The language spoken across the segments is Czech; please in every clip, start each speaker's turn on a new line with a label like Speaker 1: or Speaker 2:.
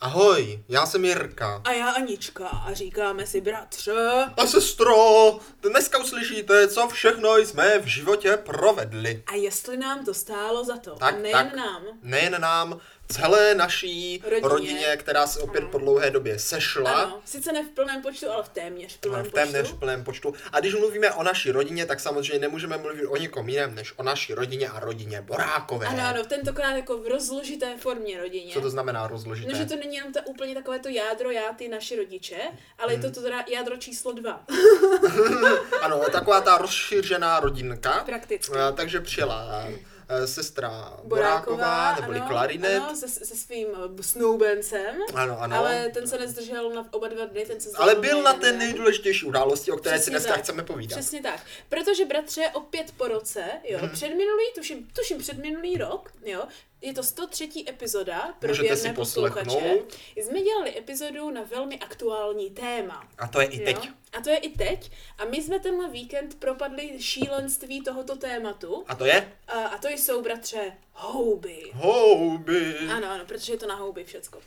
Speaker 1: Ahoj, já jsem Jirka.
Speaker 2: A já Anička a říkáme si bratře.
Speaker 1: A sestro, dneska uslyšíte, co všechno jsme v životě provedli.
Speaker 2: A jestli nám to stálo za to,
Speaker 1: Tak,
Speaker 2: a nejen
Speaker 1: tak.
Speaker 2: nám,
Speaker 1: Nejen nám, celé naší
Speaker 2: Rodině.
Speaker 1: rodině, která se opět
Speaker 2: Ano.
Speaker 1: po dlouhé době sešla.
Speaker 2: ano, sice ne v plném počtu, ale v téměř plném
Speaker 1: V téměř
Speaker 2: počtu.
Speaker 1: plném počtu. A když mluvíme o naší rodině, tak samozřejmě nemůžeme mluvit o nikom jiném, než o naší rodině a rodině Borákové.
Speaker 2: Ano, ano, tentokrát jako v rozložité formě rodině.
Speaker 1: Co to znamená rozložité?
Speaker 2: No, že to není jenom ta, úplně takové to jádro já, ty, naši rodiče, ale
Speaker 1: Hmm.
Speaker 2: je to, to teda jádro číslo dva.
Speaker 1: Ano, taková ta rozšířená rodinka.
Speaker 2: Prakticky.
Speaker 1: Eh, Takže přijela eh, sestra Boráková, neboli
Speaker 2: ano,
Speaker 1: klarinet.
Speaker 2: Ano, se, se svým eh, snoubencem.
Speaker 1: Ano, ano.
Speaker 2: Ale ten se nezdržel na oba dva dny, ten se
Speaker 1: Ale
Speaker 2: zdržel
Speaker 1: byl na
Speaker 2: jeden
Speaker 1: té
Speaker 2: den.
Speaker 1: nejdůležitější události, o které si
Speaker 2: Přesně
Speaker 1: dneska
Speaker 2: tak.
Speaker 1: chceme povídat. Mhm.
Speaker 2: Přesně tak. Protože bratře opět po roce, jo, hmm. předminulý, tuším, tuším předminulý rok, jo, je to 103. epizoda pro
Speaker 1: Můžete
Speaker 2: věrné
Speaker 1: si
Speaker 2: posluchače.
Speaker 1: poslechnout.
Speaker 2: Jsme dělali epizodu na velmi aktuální téma.
Speaker 1: A to je i teď.
Speaker 2: Jo? A to je i teď. A my jsme tenhle víkend propadli šílenství tohoto tématu.
Speaker 1: A to je
Speaker 2: A, a to jsou, bratře, houby.
Speaker 1: houby.
Speaker 2: Ano, ano, protože je to na houby všecko.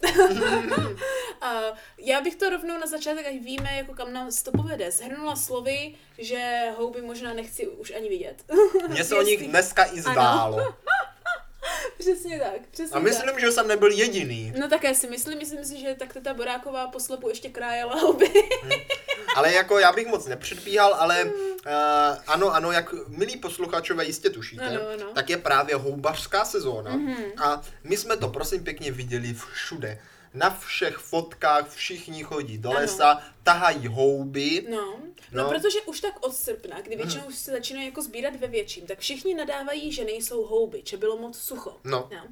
Speaker 2: a já bych to rovnou na začátek, ať víme, jako kam nás to povede. Zhrnula slovy, že houby možná nechci už ani vidět.
Speaker 1: Mně se o nich
Speaker 2: Jestli-
Speaker 1: dneska i zdálo.
Speaker 2: přesně tak, přesně
Speaker 1: A
Speaker 2: tak.
Speaker 1: myslím, že jsem nebyl jediný.
Speaker 2: No také si myslím, myslím si, že tak ta Boráková po slepu ještě krájela houby.
Speaker 1: Ale jako já bych moc nepředbíhal, ale
Speaker 2: Hmm.
Speaker 1: eh, ano, ano, jak milí posluchačové jistě tušíte,
Speaker 2: Ano, ano. Mhm.
Speaker 1: tak je právě houbařská sezóna. A my jsme to prosím pěkně viděli všude. Na všech fotkách všichni chodí do
Speaker 2: Ano.
Speaker 1: lesa, tahají houby.
Speaker 2: No, no,
Speaker 1: No.
Speaker 2: no, protože už tak od srpna, kdy většinou už se začínají jako sbírat ve větším, tak všichni nadávají, že nejsou houby, že bylo moc sucho.
Speaker 1: No.
Speaker 2: No.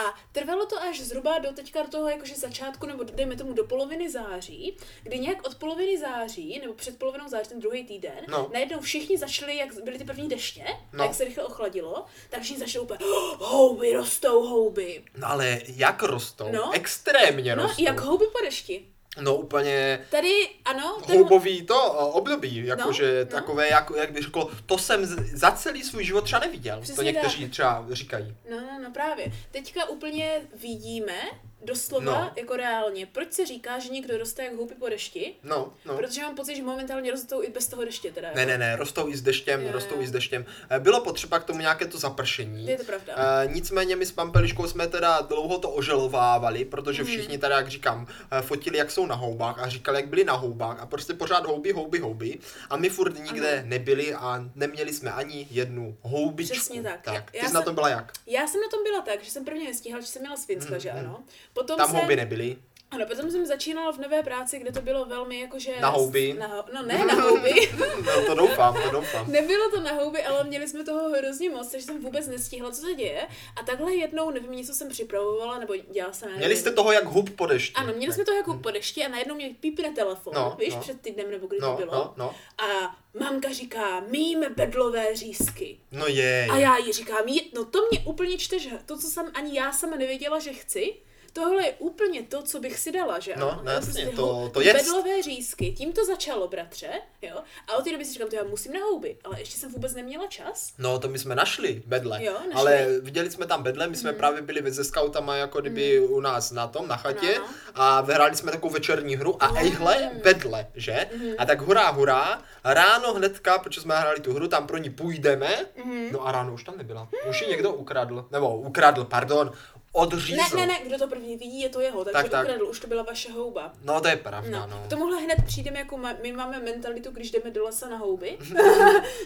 Speaker 2: A trvalo to až zhruba do teďka do toho jakože začátku, nebo dejme tomu do poloviny září, kdy nějak od poloviny září, nebo před polovinou září, ten druhý týden,
Speaker 1: No.
Speaker 2: najednou všichni začali, jak byly ty první deště,
Speaker 1: No.
Speaker 2: no. jak se rychle ochladilo, tak všichni začali úplně, "Oh, houby, rostou houby.
Speaker 1: No ale jak rostou?
Speaker 2: No.
Speaker 1: Extrémně
Speaker 2: No,
Speaker 1: rostou.
Speaker 2: jak houby po dešti.
Speaker 1: No úplně
Speaker 2: Tady, ano, ten-
Speaker 1: houbový to o, období, jakože
Speaker 2: no.
Speaker 1: takové, jako, jak bych řekl, to jsem z- za celý svůj život třeba neviděl. to
Speaker 2: Přesně
Speaker 1: někteří třeba říkají.
Speaker 2: No, no, no právě. Teďka úplně vidíme, doslova,
Speaker 1: No.
Speaker 2: no. jako reálně, proč se říká, že někdo roste jak houby po dešti?
Speaker 1: No, no.
Speaker 2: Protože mám pocit, že momentálně rostou i bez toho deště teda. jako
Speaker 1: Ne, ne, ne, rostou i s deštěm,
Speaker 2: Jo,
Speaker 1: rostou
Speaker 2: jo.
Speaker 1: i s deštěm. Eh, Bylo potřeba k tomu nějaké to zapršení.
Speaker 2: Je to pravda.
Speaker 1: Eh, nicméně my s Pampeliškou jsme teda dlouho to oželovávali, protože
Speaker 2: Mhm.
Speaker 1: všichni teda, jak říkám, eh, fotili, jak jsou na houbách a říkali, jak byli na houbách a prostě pořád houby, houby, houby. A my furt nikde nebyli a neměli jsme ani jednu houbičku.
Speaker 2: Přesně tak.
Speaker 1: tak. Ty
Speaker 2: Já
Speaker 1: jsi
Speaker 2: jsem-
Speaker 1: na tom byla jak?
Speaker 2: Já jsem na tom byla tak, že jsem prvně nestíhala, že jsem měla z Finska, že ano. Potom
Speaker 1: Hmm, Tam
Speaker 2: jsem,
Speaker 1: houby nebyly.
Speaker 2: ano, potom jsem začínala v nové práci, kde to bylo velmi jakože...
Speaker 1: Na houby.
Speaker 2: Na, ho- no ne, na houby.
Speaker 1: No, to doufám, to doufám.
Speaker 2: Nebylo to na houby, ale měli jsme toho hrozně moc, takže jsem vůbec nestihla, co se děje. A takhle jednou, nevím, něco jsem připravovala, nebo dělala jsem...
Speaker 1: Měli jste toho jak hub po dešti.
Speaker 2: Ano, měli jsme to jako po dešti a najednou mě pípne telefon,
Speaker 1: No,
Speaker 2: no, víš,
Speaker 1: no.
Speaker 2: před týdnem nebo kdy
Speaker 1: No,
Speaker 2: to bylo.
Speaker 1: no, no.
Speaker 2: A mamka říká, míjíme bedlové řízky.
Speaker 1: No je.
Speaker 2: A já jí říkám, "Jí- no to mě úplně čteš, to, co jsem ani já sama nevěděla, že chci, tohle je úplně to, co bych si dala, že
Speaker 1: No,
Speaker 2: ano?
Speaker 1: no
Speaker 2: Já
Speaker 1: jasně,
Speaker 2: prostě
Speaker 1: to-
Speaker 2: hou-
Speaker 1: to jest.
Speaker 2: Bedlové řízky, tím to začalo, bratře, jo? A od té doby si říkám, to já musím na houby, ale ještě jsem vůbec neměla čas.
Speaker 1: No, to my jsme našli bedle,
Speaker 2: Jo, našli. Hmm.
Speaker 1: ale viděli jsme tam bedle, my jsme právě byli ve- se skautama jako kdyby u nás na tom, na chatě
Speaker 2: Ano, Hmm.
Speaker 1: a vyhráli jsme takovou večerní hru a ejhle, bedle, že? A tak hurá, hurá, ráno hnedka, protože jsme hráli tu hru, tam pro ní půjdeme,
Speaker 2: Hmm.
Speaker 1: no a ráno už tam nebyla, už ji někdo ukradl, nebo ukradl, pardon,
Speaker 2: Ne,
Speaker 1: odřízl.
Speaker 2: ne, ne, kdo to první vidí, je to jeho, takže
Speaker 1: Tak,
Speaker 2: tak,
Speaker 1: tak.
Speaker 2: tak. ukradl, už to byla vaše houba.
Speaker 1: No to je pravda,
Speaker 2: No,
Speaker 1: no.
Speaker 2: k tomuhle hned přijdeme, jako ma- my máme mentalitu, když jdeme do lesa na houby,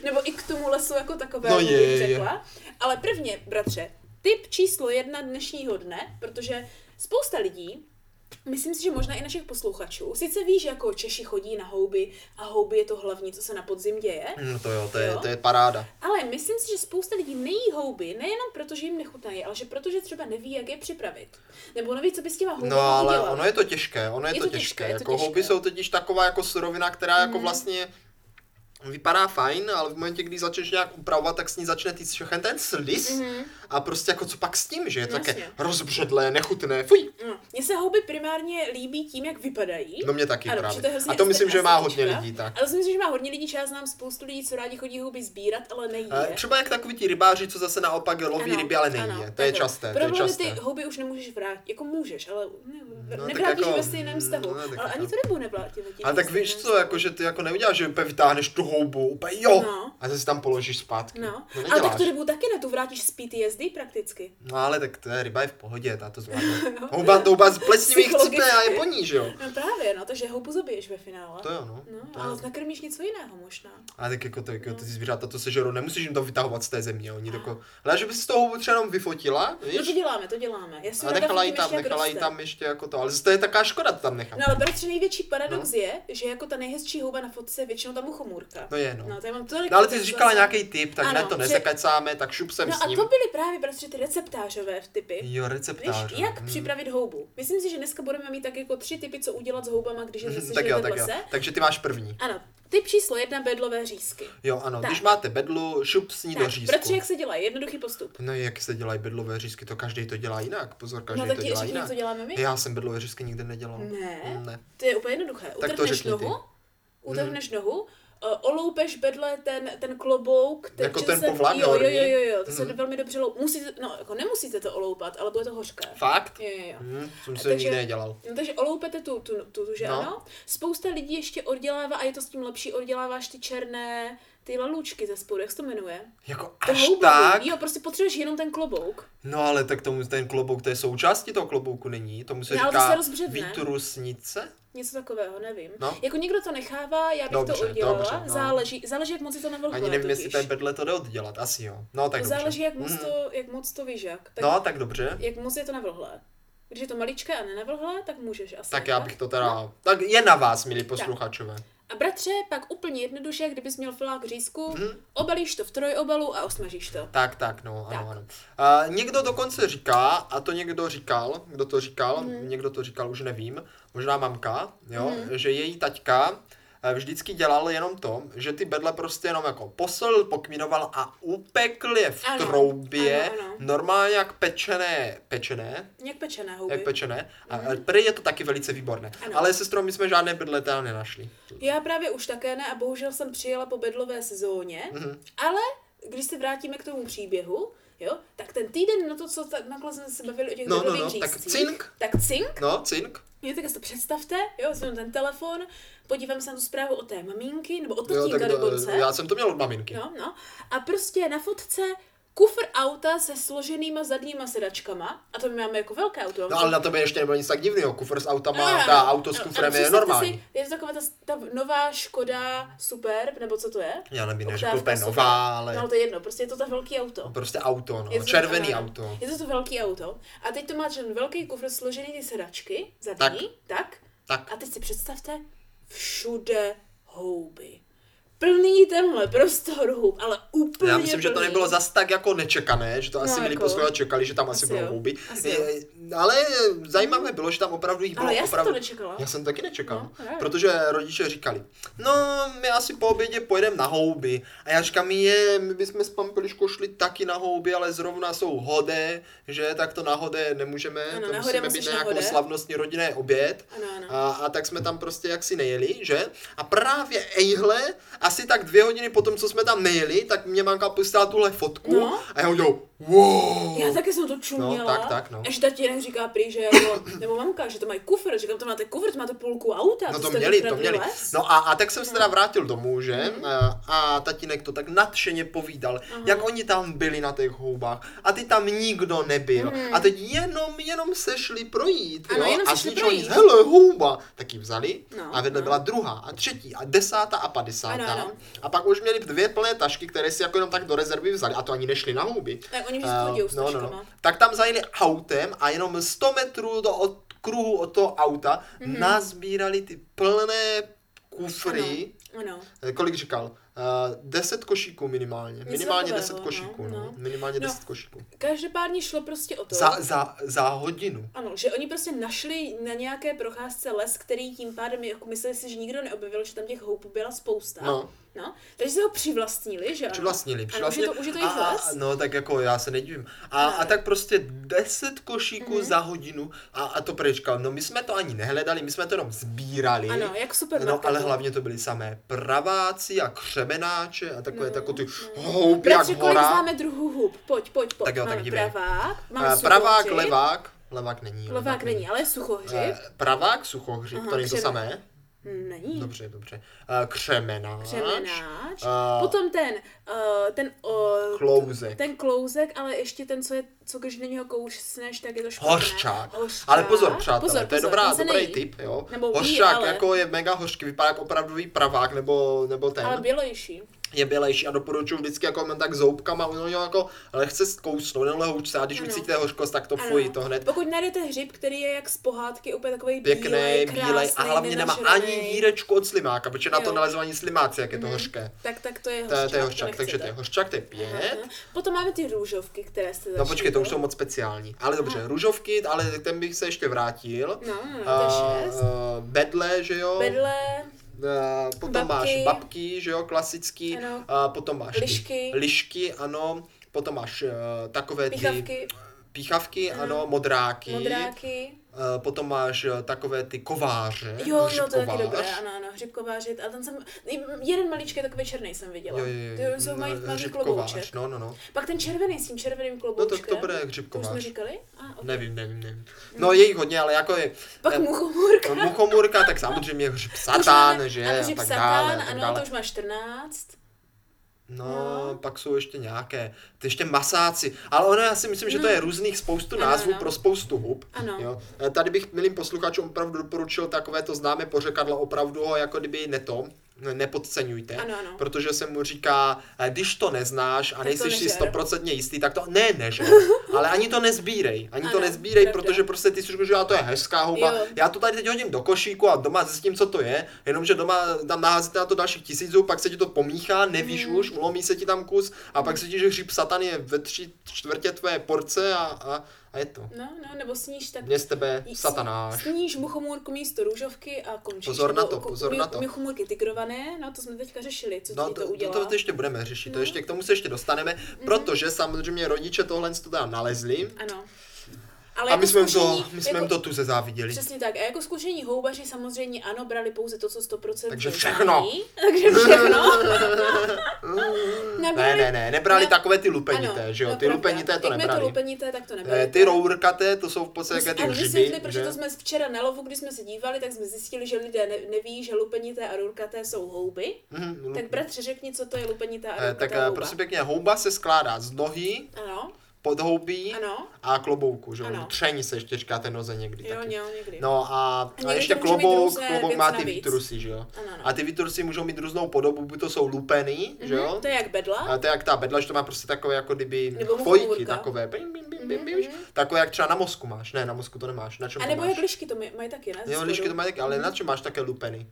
Speaker 2: nebo i k tomu lesu jako takovému,
Speaker 1: No
Speaker 2: no
Speaker 1: je,
Speaker 2: bych
Speaker 1: je.
Speaker 2: řekla. Ale prvně, bratře, tip číslo jedna dnešního dne, protože spousta lidí, myslím si, že možná i našich posluchačů, sice ví, že jako Češi chodí na houby a houby je to hlavní, co se na podzim děje,
Speaker 1: No to jo, to je,
Speaker 2: Jo.
Speaker 1: to je paráda.
Speaker 2: ale myslím si, že spousta lidí nejí houby, nejenom proto, že jim nechutnají, ale že protože třeba neví, jak je připravit. Nebo neví, co by s těma houbama
Speaker 1: No ale
Speaker 2: udělal.
Speaker 1: ono je to těžké, ono je, to těžké.
Speaker 2: je to
Speaker 1: jako
Speaker 2: těžké. Mhm.
Speaker 1: houby jsou totiž taková jako surovina, která jako vlastně vypadá fajn, ale v momentě, kdy ji začneš nějak upravovat, tak s ní začne týct všechen ten slis a prostě jako co pak s tím, že je to také
Speaker 2: Mhm. Jasně.
Speaker 1: rozbředlé, nechutné, fuj.
Speaker 2: No, Mně se houby primárně líbí tím, jak vypadají.
Speaker 1: No mě taky
Speaker 2: Ano,
Speaker 1: právě.
Speaker 2: že to je hrozně
Speaker 1: a to myslím, že má hodně
Speaker 2: estetička.
Speaker 1: lidí tak.
Speaker 2: A to si myslím, že má hodně lidí, že já znám spoustu lidí, co rádi chodí houby sbírat, ale nejí
Speaker 1: Eh,
Speaker 2: je.
Speaker 1: Třeba jak takový ti rybáři, co zase naopak loví
Speaker 2: Ano,
Speaker 1: ryby, ale
Speaker 2: ano,
Speaker 1: nejí je. To je
Speaker 2: takhle.
Speaker 1: časté, to je
Speaker 2: Problém
Speaker 1: časté.
Speaker 2: ty houby už nemůžeš vrátit. Jako můžeš, ale ne,
Speaker 1: No,
Speaker 2: No,
Speaker 1: tak
Speaker 2: nevrátíš
Speaker 1: jako-
Speaker 2: jako, ve stejném
Speaker 1: no,
Speaker 2: stavu. No,
Speaker 1: tak
Speaker 2: ale
Speaker 1: jako-
Speaker 2: ani to rybu nevrátíš.
Speaker 1: A tak víš
Speaker 2: no.
Speaker 1: co, jako, že ty jako neuděláš, že úplně vytáhneš tu houbu, úplně jo,
Speaker 2: No.
Speaker 1: a zase tam položíš zpátky.
Speaker 2: No,
Speaker 1: to
Speaker 2: ale
Speaker 1: neděláš.
Speaker 2: tak tu rybu taky na tu vrátíš z PTSD prakticky.
Speaker 1: No ale tak to je, ryba je v pohodě, ta to zvládne.
Speaker 2: No.
Speaker 1: Houba, to houba z plesnivých
Speaker 2: Psychologicky.
Speaker 1: chcípne a je po ní, že jo.
Speaker 2: No právě, no, takže houbu zabiješ ve finále.
Speaker 1: To jo, no.
Speaker 2: No,
Speaker 1: to
Speaker 2: ale
Speaker 1: jo.
Speaker 2: nakrmíš něco jiného možná.
Speaker 1: A tak jako, to, jako
Speaker 2: No.
Speaker 1: ty zvířata to sežerou, nemusíš jim to vytahovat z té země, oni jako, ale že bys z toho houbu třeba jenom vyfotila,
Speaker 2: No to
Speaker 1: víš?
Speaker 2: děláme, to děláme. Já si
Speaker 1: A
Speaker 2: ráda
Speaker 1: nechala ji
Speaker 2: fotím
Speaker 1: tam,
Speaker 2: ještě, jak
Speaker 1: nechala ji
Speaker 2: roste.
Speaker 1: tam ještě jako to, ale zase to je taká škoda to tam nechat.
Speaker 2: No ale protože největší paradox je, že jako ta nejhezčí houba na fotce je většinou ta muchomůrka.
Speaker 1: No je, no.
Speaker 2: No, to já mám tolik
Speaker 1: No ale ty
Speaker 2: fotek
Speaker 1: jsi říkala
Speaker 2: zase.
Speaker 1: nějaký typ, tak
Speaker 2: Ano,
Speaker 1: ne to
Speaker 2: že-
Speaker 1: nezakecáme, tak šup sem
Speaker 2: No
Speaker 1: s
Speaker 2: a
Speaker 1: ním.
Speaker 2: to byly právě bratře ty receptářové v typy.
Speaker 1: Jo,
Speaker 2: Víš,
Speaker 1: receptář. no. Mhm.
Speaker 2: jak připravit houbu? Myslím si, že dneska budeme mít tak jako tři typy, co udělat s houbama, když je zase
Speaker 1: Hm, tak jo,
Speaker 2: v
Speaker 1: tak jo.
Speaker 2: lese.
Speaker 1: Takže ty máš první.
Speaker 2: Ano, typ číslo jedna, bedlové řízky.
Speaker 1: Jo, ano,
Speaker 2: Tak.
Speaker 1: když máte bedlu, šup s ní do řízku.
Speaker 2: bratře, jak se dělá? Jednoduchý postup.
Speaker 1: No jak se dělají bedlové řízky, to každý to dělá jinak. Pozor, každý
Speaker 2: No tak
Speaker 1: to
Speaker 2: ti
Speaker 1: dělá
Speaker 2: řekni,
Speaker 1: jinak.
Speaker 2: co děláme my.
Speaker 1: Já jsem bedlové řízky nikdy nedělal. Mm,
Speaker 2: Ne.
Speaker 1: Ne.
Speaker 2: To je úplně jednoduché.
Speaker 1: to
Speaker 2: Utrhneš
Speaker 1: řekni ty. Mhm.
Speaker 2: nohu, utrhneš nohu, eh, oloupeš bedle ten, ten klobouk, ten,
Speaker 1: Jako
Speaker 2: že
Speaker 1: ten
Speaker 2: se,
Speaker 1: povlak
Speaker 2: jo, jo,
Speaker 1: horní?
Speaker 2: jo, jo, jo, to se
Speaker 1: Mhm.
Speaker 2: velmi dobře lou... Musíte, no, jako nemusíte to oloupat, ale bude to hořké.
Speaker 1: Fakt?
Speaker 2: Jo, jo, jo.
Speaker 1: Hm, jsem se
Speaker 2: Takže-
Speaker 1: nikdy nedělal.
Speaker 2: No, takže oloupete tu, tu, tu, tu že
Speaker 1: No.
Speaker 2: no. ano. Spousta lidí ještě oddělává, a je to s tím lepší, odděláváš ty černé, ty lalučky ze spodu, jak se to jmenuje?
Speaker 1: Jako
Speaker 2: To
Speaker 1: až
Speaker 2: houbový,
Speaker 1: tak?
Speaker 2: Jo, prostě potřebuješ jenom ten klobouk.
Speaker 1: No ale tak tomu ten klobouk, to je součástí toho klobouku, není? Tomu se
Speaker 2: No, ale to se
Speaker 1: říká
Speaker 2: rozbředne.
Speaker 1: výtrusnice?
Speaker 2: Něco takového, nevím.
Speaker 1: No.
Speaker 2: Jako někdo to nechává, já bych
Speaker 1: Dobře,
Speaker 2: to udělala.
Speaker 1: dobře, no.
Speaker 2: záleží, záleží, jak moc je to navlhlo.
Speaker 1: Ani nevím, jestli ten bedle to jde oddělat, asi jo. No tak
Speaker 2: To
Speaker 1: dobře.
Speaker 2: záleží, jak moc,
Speaker 1: Mhm.
Speaker 2: to, jak moc to víš, jak. Tak,
Speaker 1: No tak dobře.
Speaker 2: Jak moc je to navlhlé. Když je to maličké a nenavlhlé, tak můžeš asi.
Speaker 1: Tak
Speaker 2: ne?
Speaker 1: já bych to teda... Tak je na vás, milí posluchačové.
Speaker 2: A bratře, pak úplně jednoduše, kdybys měl filák řízku,
Speaker 1: Mhm.
Speaker 2: obalíš to v trojobalu a osmažíš to.
Speaker 1: Tak, tak, no, ano,
Speaker 2: Tak.
Speaker 1: ano. A někdo dokonce říká, a to někdo říkal, kdo to říkal,
Speaker 2: Mhm.
Speaker 1: někdo to říkal, už nevím, možná mamka, jo, že její taťka eh, vždycky dělal jenom to, že ty bedle prostě jenom jako posolil, pokmínoval a upekl je v
Speaker 2: Ano,
Speaker 1: troubě,
Speaker 2: ano, ano.
Speaker 1: normálně jak pečené, pečené,
Speaker 2: Jak pečené houby.
Speaker 1: jak pečené, a a prý je to taky velice výborné.
Speaker 2: Mhm. Ano.
Speaker 1: Ale sestro, my jsme žádné bedle teda nenašli.
Speaker 2: Já právě už také ne a bohužel jsem přijela po bedlové sezóně, mm-hmm.
Speaker 1: Mhm.
Speaker 2: ale když se vrátíme k tomu příběhu, jo, tak ten týden na to, co tak nakonec jsme se bavili o těch
Speaker 1: No, no,
Speaker 2: bedlových
Speaker 1: no, tak
Speaker 2: řízcích,
Speaker 1: cink.
Speaker 2: tak cink,
Speaker 1: No, cink.
Speaker 2: jo, tak si to představte, jo, jsem ten telefon, podívám se na tu zprávu o té maminky, nebo od
Speaker 1: Jo,
Speaker 2: tatínka
Speaker 1: tak, eh,
Speaker 2: dokonce,
Speaker 1: já jsem to měl od maminky.
Speaker 2: no, no, a prostě na fotce kufr auta se složenýma zadníma sedačkama, a to my máme jako velké auto. No,
Speaker 1: No ale na tebe ještě nebylo nic tak divného, kufr s autama,
Speaker 2: Ano,
Speaker 1: ta
Speaker 2: ano,
Speaker 1: auto s
Speaker 2: ano,
Speaker 1: kufrem
Speaker 2: ano,
Speaker 1: je
Speaker 2: představte
Speaker 1: normální.
Speaker 2: Si, je to taková ta, ta nová Škoda Superb, nebo co to je?
Speaker 1: Já nevím, než
Speaker 2: Oktávka
Speaker 1: úplně
Speaker 2: Superb.
Speaker 1: nová, ale
Speaker 2: No ale to je jedno, prostě je to ta velký auto.
Speaker 1: prostě auto, no,
Speaker 2: Je to
Speaker 1: červený
Speaker 2: ano,
Speaker 1: auto.
Speaker 2: Je to to velký auto. A teď to má ten velký kufr složený ty sedačky
Speaker 1: Tak.
Speaker 2: zadní, tak. tak.
Speaker 1: Tak,
Speaker 2: A teď si představte, všude houby. Plný tenhle prostor houb, ale úplně
Speaker 1: já myslím, že to
Speaker 2: plný.
Speaker 1: nebylo zas tak jako nečekané, že to asi
Speaker 2: No,
Speaker 1: milí
Speaker 2: jako-
Speaker 1: posluchači čekali, že tam asi,
Speaker 2: Asi
Speaker 1: budou
Speaker 2: jo,
Speaker 1: houby.
Speaker 2: asi
Speaker 1: Je-
Speaker 2: jo.
Speaker 1: Ale zajímavé bylo, že tam opravdu jich bylo
Speaker 2: Ale já jsem
Speaker 1: opravdu...
Speaker 2: to nečekala.
Speaker 1: Já jsem taky nečekal,
Speaker 2: No, právě.
Speaker 1: protože rodiče říkali, no my asi po obědě pojedeme na houby. A já říkám, je, my bychom s pampeliškou šli taky na houby, ale zrovna jsou hodé, že tak to na hodé nemůžeme,
Speaker 2: Ano,
Speaker 1: to
Speaker 2: na
Speaker 1: musíme
Speaker 2: hodé
Speaker 1: být
Speaker 2: musíš
Speaker 1: na
Speaker 2: na
Speaker 1: nějakou
Speaker 2: hodé.
Speaker 1: slavnostní rodinný oběd.
Speaker 2: Ano, ano.
Speaker 1: A, a tak jsme tam prostě jaksi nejeli, že? A právě ejhle, asi tak dvě hodiny potom, co jsme tam nejeli, tak mě manka pustila tuhle fotku
Speaker 2: No.
Speaker 1: a já udělal, wow!
Speaker 2: Já taky jsem to čuměla.
Speaker 1: tak, tak, no.
Speaker 2: Až tatínek říká prý, že jako, nebo mamka, že to mají kufr. Říkám, to máte kufr, to máte půlku auta.
Speaker 1: No to
Speaker 2: jste
Speaker 1: měli, to
Speaker 2: vykradli
Speaker 1: měli.
Speaker 2: les. Mhm.
Speaker 1: No a, a tak jsem se teda vrátil domů, že? A, a tatínek to tak nadšeně povídal, jak oni tam byli na těch houbách a ty tam nikdo nebyl. A teď jenom, jenom se šli projít,
Speaker 2: Mhm. Ano,
Speaker 1: jo?
Speaker 2: jenom
Speaker 1: a
Speaker 2: se šli
Speaker 1: z ničeho nic,
Speaker 2: projít.
Speaker 1: hele, houba, tak ji vzali
Speaker 2: No,
Speaker 1: a vedle
Speaker 2: no.
Speaker 1: byla druhá a třetí a desátá a padesátá.
Speaker 2: Ano, ano.
Speaker 1: A pak už měli dvě plné tašky, které si jako jenom tak do rezervy vzali a to ani nešli na houby.
Speaker 2: Tak oni
Speaker 1: Eh,
Speaker 2: vždycky chodí s taškama.
Speaker 1: Tak tam zajeli autem a jenom 100 metrů do od kruhu od toho auta
Speaker 2: Mhm.
Speaker 1: mm-hmm. nazbírali ty plné kufry,
Speaker 2: Ano.
Speaker 1: ano. kolik říkal, uh, 10 košíků minimálně. Minimálně 10
Speaker 2: takového,
Speaker 1: košíků, no,
Speaker 2: no,
Speaker 1: no.
Speaker 2: no.
Speaker 1: Minimálně
Speaker 2: No,
Speaker 1: 10 košíků.
Speaker 2: Každopádně šlo prostě o to.
Speaker 1: Za, za, za hodinu.
Speaker 2: Ano, že oni prostě našli na nějaké procházce les, který tím pádem, jako mysleli si, že nikdo neobjevil, že tam těch houpů byla spousta.
Speaker 1: No.
Speaker 2: no. Takže se ho přivlastnili, že ano?
Speaker 1: Přivlastnili,
Speaker 2: Ano, už je
Speaker 1: přivlastnili.
Speaker 2: to, už je to
Speaker 1: a,
Speaker 2: jejich
Speaker 1: a,
Speaker 2: les.
Speaker 1: no tak jako já se nedivím. A,
Speaker 2: Ne.
Speaker 1: a tak prostě 10 košíků
Speaker 2: Mhm.
Speaker 1: mm-hmm. za hodinu a, a to prečkal. No my jsme to ani nehledali, my jsme to jenom sbírali.
Speaker 2: Ano, jak super.
Speaker 1: No, ale hlavně to byly samé praváci a křemenáče a takové, no,
Speaker 2: No,
Speaker 1: takové ty
Speaker 2: no.
Speaker 1: houby jak
Speaker 2: Bratře, kolik
Speaker 1: hora.
Speaker 2: známe druhů hub? Pojď, pojď, pojď.
Speaker 1: Tak jo, tak
Speaker 2: máme
Speaker 1: dívej.
Speaker 2: pravák, máme
Speaker 1: Eh,
Speaker 2: suchouci.
Speaker 1: Pravák, levák, Levák není.
Speaker 2: Levák není, ale je suchohřib.
Speaker 1: Eh, Pravák, suchohřib,
Speaker 2: Aha,
Speaker 1: to není to
Speaker 2: křemen.
Speaker 1: samé.
Speaker 2: Hm, Není.
Speaker 1: Dobře, dobře. Eh, Křemenáč.
Speaker 2: Křemenáč.
Speaker 1: Eh,
Speaker 2: Potom ten, uh, ten, uh,
Speaker 1: Klouzek.
Speaker 2: ten klouzek, ale ještě ten, co je, co když do něho kousneš, tak je to špatné.
Speaker 1: Hořčák.
Speaker 2: Hořčák.
Speaker 1: Ale pozor, přátelé,
Speaker 2: pozor,
Speaker 1: to je
Speaker 2: pozor,
Speaker 1: dobrá,
Speaker 2: ten se
Speaker 1: dobrý
Speaker 2: nejí.
Speaker 1: tip, jo.
Speaker 2: Nebo ví,
Speaker 1: hořčák
Speaker 2: ale-
Speaker 1: jako je mega hořký, vypadá jako opravdový pravák nebo, nebo ten.
Speaker 2: Ale bělejší.
Speaker 1: je bělejší a doporučuji vždycky jako jen tak zoubkama, ono jo, jako lehce zkousnout, jenom lehoučce a když
Speaker 2: Ano.
Speaker 1: ano. ucítíte hořkost, tak to
Speaker 2: Ano.
Speaker 1: fuj, to hned
Speaker 2: Pokud najdete hřib, který je jak z pohádky, úplně takový
Speaker 1: pěkný,
Speaker 2: bílej,
Speaker 1: bílej a hlavně nemá ani dírečku od slimáka, protože na
Speaker 2: Jo.
Speaker 1: to nalezou ani slimáci, jak je to hořké.
Speaker 2: Tak, tak to je
Speaker 1: To, je-
Speaker 2: hořčák.
Speaker 1: to je hořčák,
Speaker 2: nechcete.
Speaker 1: takže to je hořčák, to je pět.
Speaker 2: Aha. Potom máme ty růžovky, které jste
Speaker 1: No počkej, to už jsou moc speciální. Ale dobře, růžovky, ale ten bych se ještě vrátil.
Speaker 2: No, no, to je
Speaker 1: Eh,
Speaker 2: šest.
Speaker 1: eh, bedle, že jo?
Speaker 2: Bedle,
Speaker 1: Eh, potom
Speaker 2: Babky.
Speaker 1: babky. máš babky, že jo, klasický.
Speaker 2: Ano.
Speaker 1: A potom máš ty
Speaker 2: Lišky.
Speaker 1: lišky, ano. Potom máš uh, takové ty
Speaker 2: pichavky,
Speaker 1: píchavky, ano, modráky.
Speaker 2: modráky.
Speaker 1: Eh, potom máš eh, takové ty kováře.
Speaker 2: Jo, no to je taky
Speaker 1: hřibkovář.
Speaker 2: dobré, ano, ano, hřibkovářit. A tam jsem, jeden maličký takový černý jsem viděla.
Speaker 1: Jo, jo, jo.
Speaker 2: Ty jsou mají
Speaker 1: no,
Speaker 2: tmavý
Speaker 1: hřibkovář,
Speaker 2: klobouček.
Speaker 1: No, no, no.
Speaker 2: Pak ten červený s tím červeným
Speaker 1: No to,
Speaker 2: kloboučkem.
Speaker 1: to bude
Speaker 2: To už jsme
Speaker 1: hřibkovář.
Speaker 2: říkali? Mm. A, ok.
Speaker 1: Nevím, nevím, nevím. No je jich hodně, ale jako je...
Speaker 2: Pak
Speaker 1: eh,
Speaker 2: muchomůrka.
Speaker 1: Muchomurka, tak samozřejmě hřib
Speaker 2: To už
Speaker 1: satán,
Speaker 2: máme-
Speaker 1: že?
Speaker 2: Ano,
Speaker 1: A
Speaker 2: hřib
Speaker 1: tak
Speaker 2: satán,
Speaker 1: dále, a tak
Speaker 2: ano, to
Speaker 1: dále.
Speaker 2: už má 14. No.
Speaker 1: No, pak jsou ještě nějaké, ty ještě masáci, ale ono já si myslím, že to je různých spoustu
Speaker 2: No. Ano,
Speaker 1: názvů
Speaker 2: ano.
Speaker 1: pro spoustu hub.
Speaker 2: Ano.
Speaker 1: Jo. E, Tady bych milým posluchačům opravdu doporučil takové to známé pořekadlo, opravdu ho jako kdyby neto, ne- nepodceňujte,
Speaker 2: Ano, ano.
Speaker 1: protože se mu říká, e, když to neznáš a
Speaker 2: to
Speaker 1: nejsi si
Speaker 2: nežer.
Speaker 1: stoprocentně jistý, tak to ne, nežer, ale ani to nezbírej, ani to
Speaker 2: Ano,
Speaker 1: nezbírej,
Speaker 2: pravda.
Speaker 1: protože prostě ty si říkáš, že "A to je hezká huba,
Speaker 2: Jo.
Speaker 1: já to tady teď hodím do košíku a doma zjistím, co to je, jenomže doma tam naházíte na to dalších tisíců, pak se ti to pomíchá, nevíš
Speaker 2: Hmm.
Speaker 1: už, ulomí se ti tam kus a pak se ti, že hříb satan je ve tři čtvrtě tvé porce a, a, a je to.
Speaker 2: No, no, nebo sníš tak...
Speaker 1: Mě z tebe
Speaker 2: jí-
Speaker 1: satanáš.
Speaker 2: Sníš muchomůrku místo růžovky a končíš.
Speaker 1: Pozor na
Speaker 2: Nebo
Speaker 1: to,
Speaker 2: ko-
Speaker 1: pozor
Speaker 2: mu-
Speaker 1: na to.
Speaker 2: Muchomůrky tigrované, no to jsme teďka řešili, co
Speaker 1: No
Speaker 2: ti to
Speaker 1: to, to,
Speaker 2: udělá. Hmm.
Speaker 1: to, to ještě budeme řešit, to
Speaker 2: No.
Speaker 1: ještě, k tomu se ještě dostaneme, protože samozřejmě rodiče tohle to teda nalezli
Speaker 2: Ano. Ale jako
Speaker 1: a my jsme jim to,
Speaker 2: zkušení- jako
Speaker 1: my jsme jim to tu zezáviděli.
Speaker 2: Přesně tak. A jako zkušení houbaři samozřejmě ano, brali pouze to, co 100%
Speaker 1: Takže
Speaker 2: znají.
Speaker 1: všechno.
Speaker 2: Takže všechno.
Speaker 1: Ne,
Speaker 2: Nebrali-
Speaker 1: ne, ne, nebrali
Speaker 2: ne-
Speaker 1: takové ty lupenité, že jo,
Speaker 2: no,
Speaker 1: ty
Speaker 2: pravda.
Speaker 1: lupenité to
Speaker 2: Jakmile
Speaker 1: nebrali.
Speaker 2: to lupenité, tak to nebrali.
Speaker 1: Eh, Ty rourkaté, to jsou v podstatě
Speaker 2: a
Speaker 1: jaké ty
Speaker 2: vysvětli,
Speaker 1: hřiby,
Speaker 2: protože
Speaker 1: že?
Speaker 2: to jsme včera na lovu, když jsme se dívali, tak jsme zjistili, že lidé ne- neví, že lupenité a rurkaté jsou houby.
Speaker 1: Mhm,
Speaker 2: Tak bratře, řekni, co to je lupenitá a
Speaker 1: Eh,
Speaker 2: rurkatá
Speaker 1: tak eh,
Speaker 2: houba.
Speaker 1: prosím pěkně, houba se skládá z nohy,
Speaker 2: Ano,
Speaker 1: podhoubí
Speaker 2: ano.
Speaker 1: a klobouku, že
Speaker 2: Ano.
Speaker 1: jo? Tření se ještě říká té noze někdy
Speaker 2: Jo,
Speaker 1: taky.
Speaker 2: jo, někdy.
Speaker 1: No a,
Speaker 2: někdy
Speaker 1: a
Speaker 2: to
Speaker 1: ještě
Speaker 2: může mít
Speaker 1: klobouk,
Speaker 2: různé
Speaker 1: klobouk
Speaker 2: věci
Speaker 1: má ty
Speaker 2: navíc.
Speaker 1: výtrusy, že jo?
Speaker 2: Ano, ano.
Speaker 1: A ty výtrusy můžou mít různou podobu, buď to jsou lupeny, že jo?
Speaker 2: To je jak bedla.
Speaker 1: A to je jak ta bedla, že to má prostě takové jako kdyby
Speaker 2: Nebo
Speaker 1: chvojky,
Speaker 2: muchomůrka.
Speaker 1: takové, bim, bim, bim, bim, bim, takové jak třeba na mozku máš, ne, na mozku to nemáš, na čem
Speaker 2: A
Speaker 1: to
Speaker 2: nebo
Speaker 1: máš?
Speaker 2: jak lišky to mají- mají taky, ne? ze
Speaker 1: Jo, lišky
Speaker 2: spodu.
Speaker 1: to mají taky, ale
Speaker 2: Mhm.
Speaker 1: na čem máš také lupeny?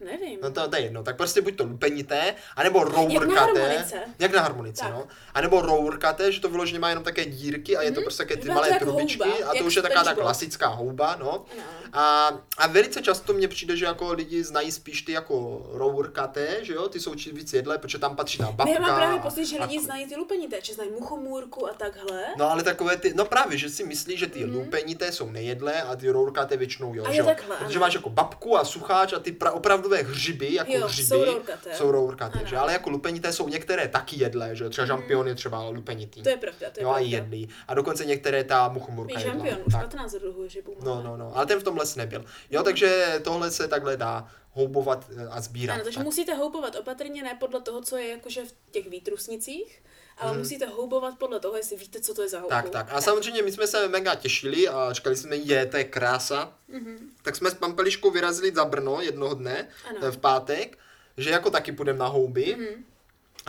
Speaker 2: Nevím.
Speaker 1: No to, to je jedno, tak prostě buď to lupenité, anebo rourkaté.
Speaker 2: harmonice.
Speaker 1: Jak na harmonice,
Speaker 2: Tak.
Speaker 1: no. A nebo rourkaté, že to vyloženě má jenom také dírky a je to prostě také ty
Speaker 2: Vypadá Mhm. to
Speaker 1: malé
Speaker 2: jak
Speaker 1: trubičky
Speaker 2: houba,
Speaker 1: a to
Speaker 2: jak
Speaker 1: už je taková ta
Speaker 2: SpongeBob.
Speaker 1: klasická houba, no.
Speaker 2: Ano.
Speaker 1: A, a velice často mně přijde, že jako lidi znají spíš ty jako rourkaté, že jo, ty jsou či- víc jedlé, protože tam patří ta
Speaker 2: Ne,
Speaker 1: babka.
Speaker 2: No já mám právě
Speaker 1: a-
Speaker 2: pocit, že
Speaker 1: a-
Speaker 2: lidi znají ty lupenité, že znají muchomůrku a takhle.
Speaker 1: No ale takové ty, no právě, že si myslí, že ty mm. lupenité jsou nejedlé a ty rourkaté většinou jo,
Speaker 2: Mhm. A je
Speaker 1: že jo?
Speaker 2: takhle,
Speaker 1: Protože
Speaker 2: ano.
Speaker 1: máš jako babku a sucháč a ty pra, opravdové hřiby, jako
Speaker 2: Jo,
Speaker 1: hřiby,
Speaker 2: jsou rourkaté.
Speaker 1: jsou rourkaté
Speaker 2: Ano. Mhm.
Speaker 1: že? ale jako lupenité jsou některé taky jedlé, že jo? třeba žampion je třeba lupenitý.
Speaker 2: To je pravda, to je
Speaker 1: jo, No a
Speaker 2: pravda.
Speaker 1: jedlý. A dokonce některé ta muchomurka
Speaker 2: Víš,
Speaker 1: jedlá.
Speaker 2: žampion, už
Speaker 1: tak.
Speaker 2: 15 druhů žibů
Speaker 1: No, no, no, ale ten v tom les nebyl. Jo, takže tohle se takhle dá houbovat eh, a sbírat.
Speaker 2: Ano, takže
Speaker 1: tak.
Speaker 2: musíte houbovat opatrně, ne podle toho, co je jakože v těch výtrusnicích, ale musíte houbovat podle toho, jestli víte, co to je za houbu.
Speaker 1: Mhm. Tak, tak. A samozřejmě my jsme se mega těšili a říkali jsme, je, to je krása. Mm-hmm. Tak jsme s Pampeliškou vyrazili za Brno jednoho dne,
Speaker 2: Mhm. Ano. Mhm.
Speaker 1: eh, v pátek, že jako taky půjdeme na houby. Mm-hmm.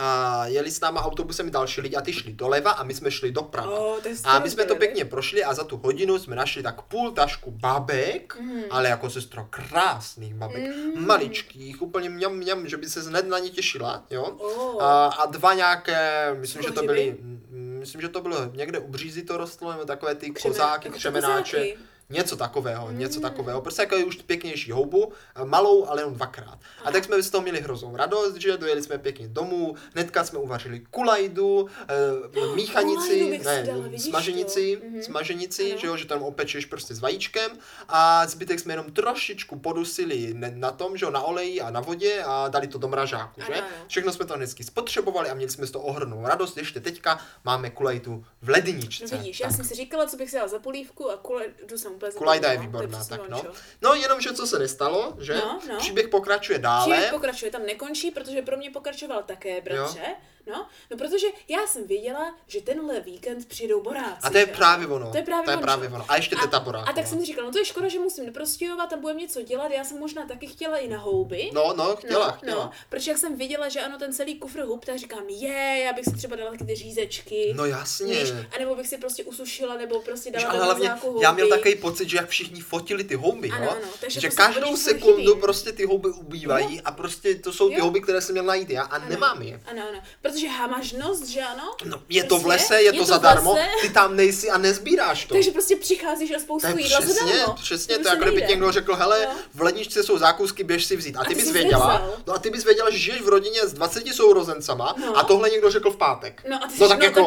Speaker 1: A jeli s náma autobusem i další lidi a ty šli doleva a my jsme šli doprava.
Speaker 2: O, to je
Speaker 1: a my jsme to
Speaker 2: skvělé.
Speaker 1: pěkně prošli a za tu hodinu jsme našli tak půl tašku babek, mm. ale jako sestro krásných babek, mm. maličkých, úplně mňam, mňam, že by se hned na ně těšila, jo.
Speaker 2: O.
Speaker 1: A, a dva nějaké, myslím, že to
Speaker 2: Kohyby?
Speaker 1: byly, Mm, myslím, že to bylo někde u Břízy to rostlo, nebo takové ty
Speaker 2: Křemen-
Speaker 1: kozáky,
Speaker 2: jako ty
Speaker 1: křemenáče.
Speaker 2: kozáky.
Speaker 1: Něco takového, něco takového. Prostě jako je už pěknější houbu, eh, malou, ale jenom dvakrát. A tak jsme z toho měli hroznou radost, že dojeli jsme pěkně domů, hnedka jsme uvařili kulajdu, eh,
Speaker 2: kulajdu
Speaker 1: míchanici,
Speaker 2: bych si
Speaker 1: ne,
Speaker 2: dala, vidíš
Speaker 1: smaženici,
Speaker 2: to? Mhm.
Speaker 1: smaženici,
Speaker 2: Ano.
Speaker 1: že jo, že tam opečeš prostě s vajíčkem a zbytek jsme jenom trošičku podusili ne- na tom, že jo, na oleji a na vodě a dali to do mražáku, že?
Speaker 2: Ano, ano.
Speaker 1: Všechno jsme to hezky spotřebovali a měli jsme z toho ohrnou radost, ještě teďka máme kulajdu v ledničce.
Speaker 2: No vidíš, já jsem si říkala, co bych si dala za polívku a kule, jdu jsem úplně
Speaker 1: Kulajda je
Speaker 2: zapomněla. To
Speaker 1: výborná,
Speaker 2: přesně
Speaker 1: tak no.
Speaker 2: ono, čo?
Speaker 1: No jenom, že co se nestalo, že?
Speaker 2: No, no.
Speaker 1: Příběh pokračuje dále.
Speaker 2: Příběh pokračuje, tam nekončí, protože pro mě pokračoval také, bratře. No, no, protože já jsem věděla, že tenhle víkend přijdou boráci.
Speaker 1: A to je
Speaker 2: že?
Speaker 1: právě ono.
Speaker 2: To je právě
Speaker 1: to je
Speaker 2: ono,
Speaker 1: právě
Speaker 2: že?
Speaker 1: ono. A ještě
Speaker 2: A-
Speaker 1: teta Boráková.
Speaker 2: A tak jsem si říkala, no to je škoda, že musím neprostějovat, tam budeme něco dělat, já jsem možná taky chtěla i na houby.
Speaker 1: No, no, chtěla,
Speaker 2: no,
Speaker 1: chtěla.
Speaker 2: No, protože jak jsem viděla, že ano, ten celý kufr hub, tak říkám, je, já bych si třeba dala taky ty řízečky.
Speaker 1: No jasně.
Speaker 2: Víš, anebo bych si prostě usušila, nebo prostě
Speaker 1: Víš,
Speaker 2: dala
Speaker 1: ale
Speaker 2: do
Speaker 1: hlavně
Speaker 2: mrazáku houby.
Speaker 1: já měl takový pocit, že jak všichni fotili ty houby,
Speaker 2: Ano,
Speaker 1: jo?
Speaker 2: ano, takže prostě
Speaker 1: že
Speaker 2: to se
Speaker 1: každou
Speaker 2: trošku
Speaker 1: sekundu
Speaker 2: chybí.
Speaker 1: prostě ty houby ubývají a prostě to jsou ty
Speaker 2: Jo.
Speaker 1: houby, které jsem měl najít já a nemám je.
Speaker 2: Ano, ano. Protože há máš nos, že ano?
Speaker 1: No, je to v
Speaker 2: Prostě,
Speaker 1: lese, je, to,
Speaker 2: v
Speaker 1: zadarmo,
Speaker 2: lese.
Speaker 1: ty tam nejsi a nezbíráš to.
Speaker 2: Takže prostě přicházíš o
Speaker 1: to je
Speaker 2: spoustu jídla
Speaker 1: přesně,
Speaker 2: zadarmo.
Speaker 1: přesně,
Speaker 2: To
Speaker 1: to
Speaker 2: se
Speaker 1: jako kdyby
Speaker 2: nejde.
Speaker 1: ti někdo řekl, hele,
Speaker 2: No.
Speaker 1: v ledničce jsou zákusky, běž si vzít. A ty
Speaker 2: ty
Speaker 1: bys
Speaker 2: jsi
Speaker 1: věděla,
Speaker 2: nevzal.
Speaker 1: no a ty bys věděla, že žiješ v rodině s 20 sourozencama
Speaker 2: No.
Speaker 1: a tohle někdo řekl v pátek.
Speaker 2: No a ty jsi,
Speaker 1: no, tak, jako,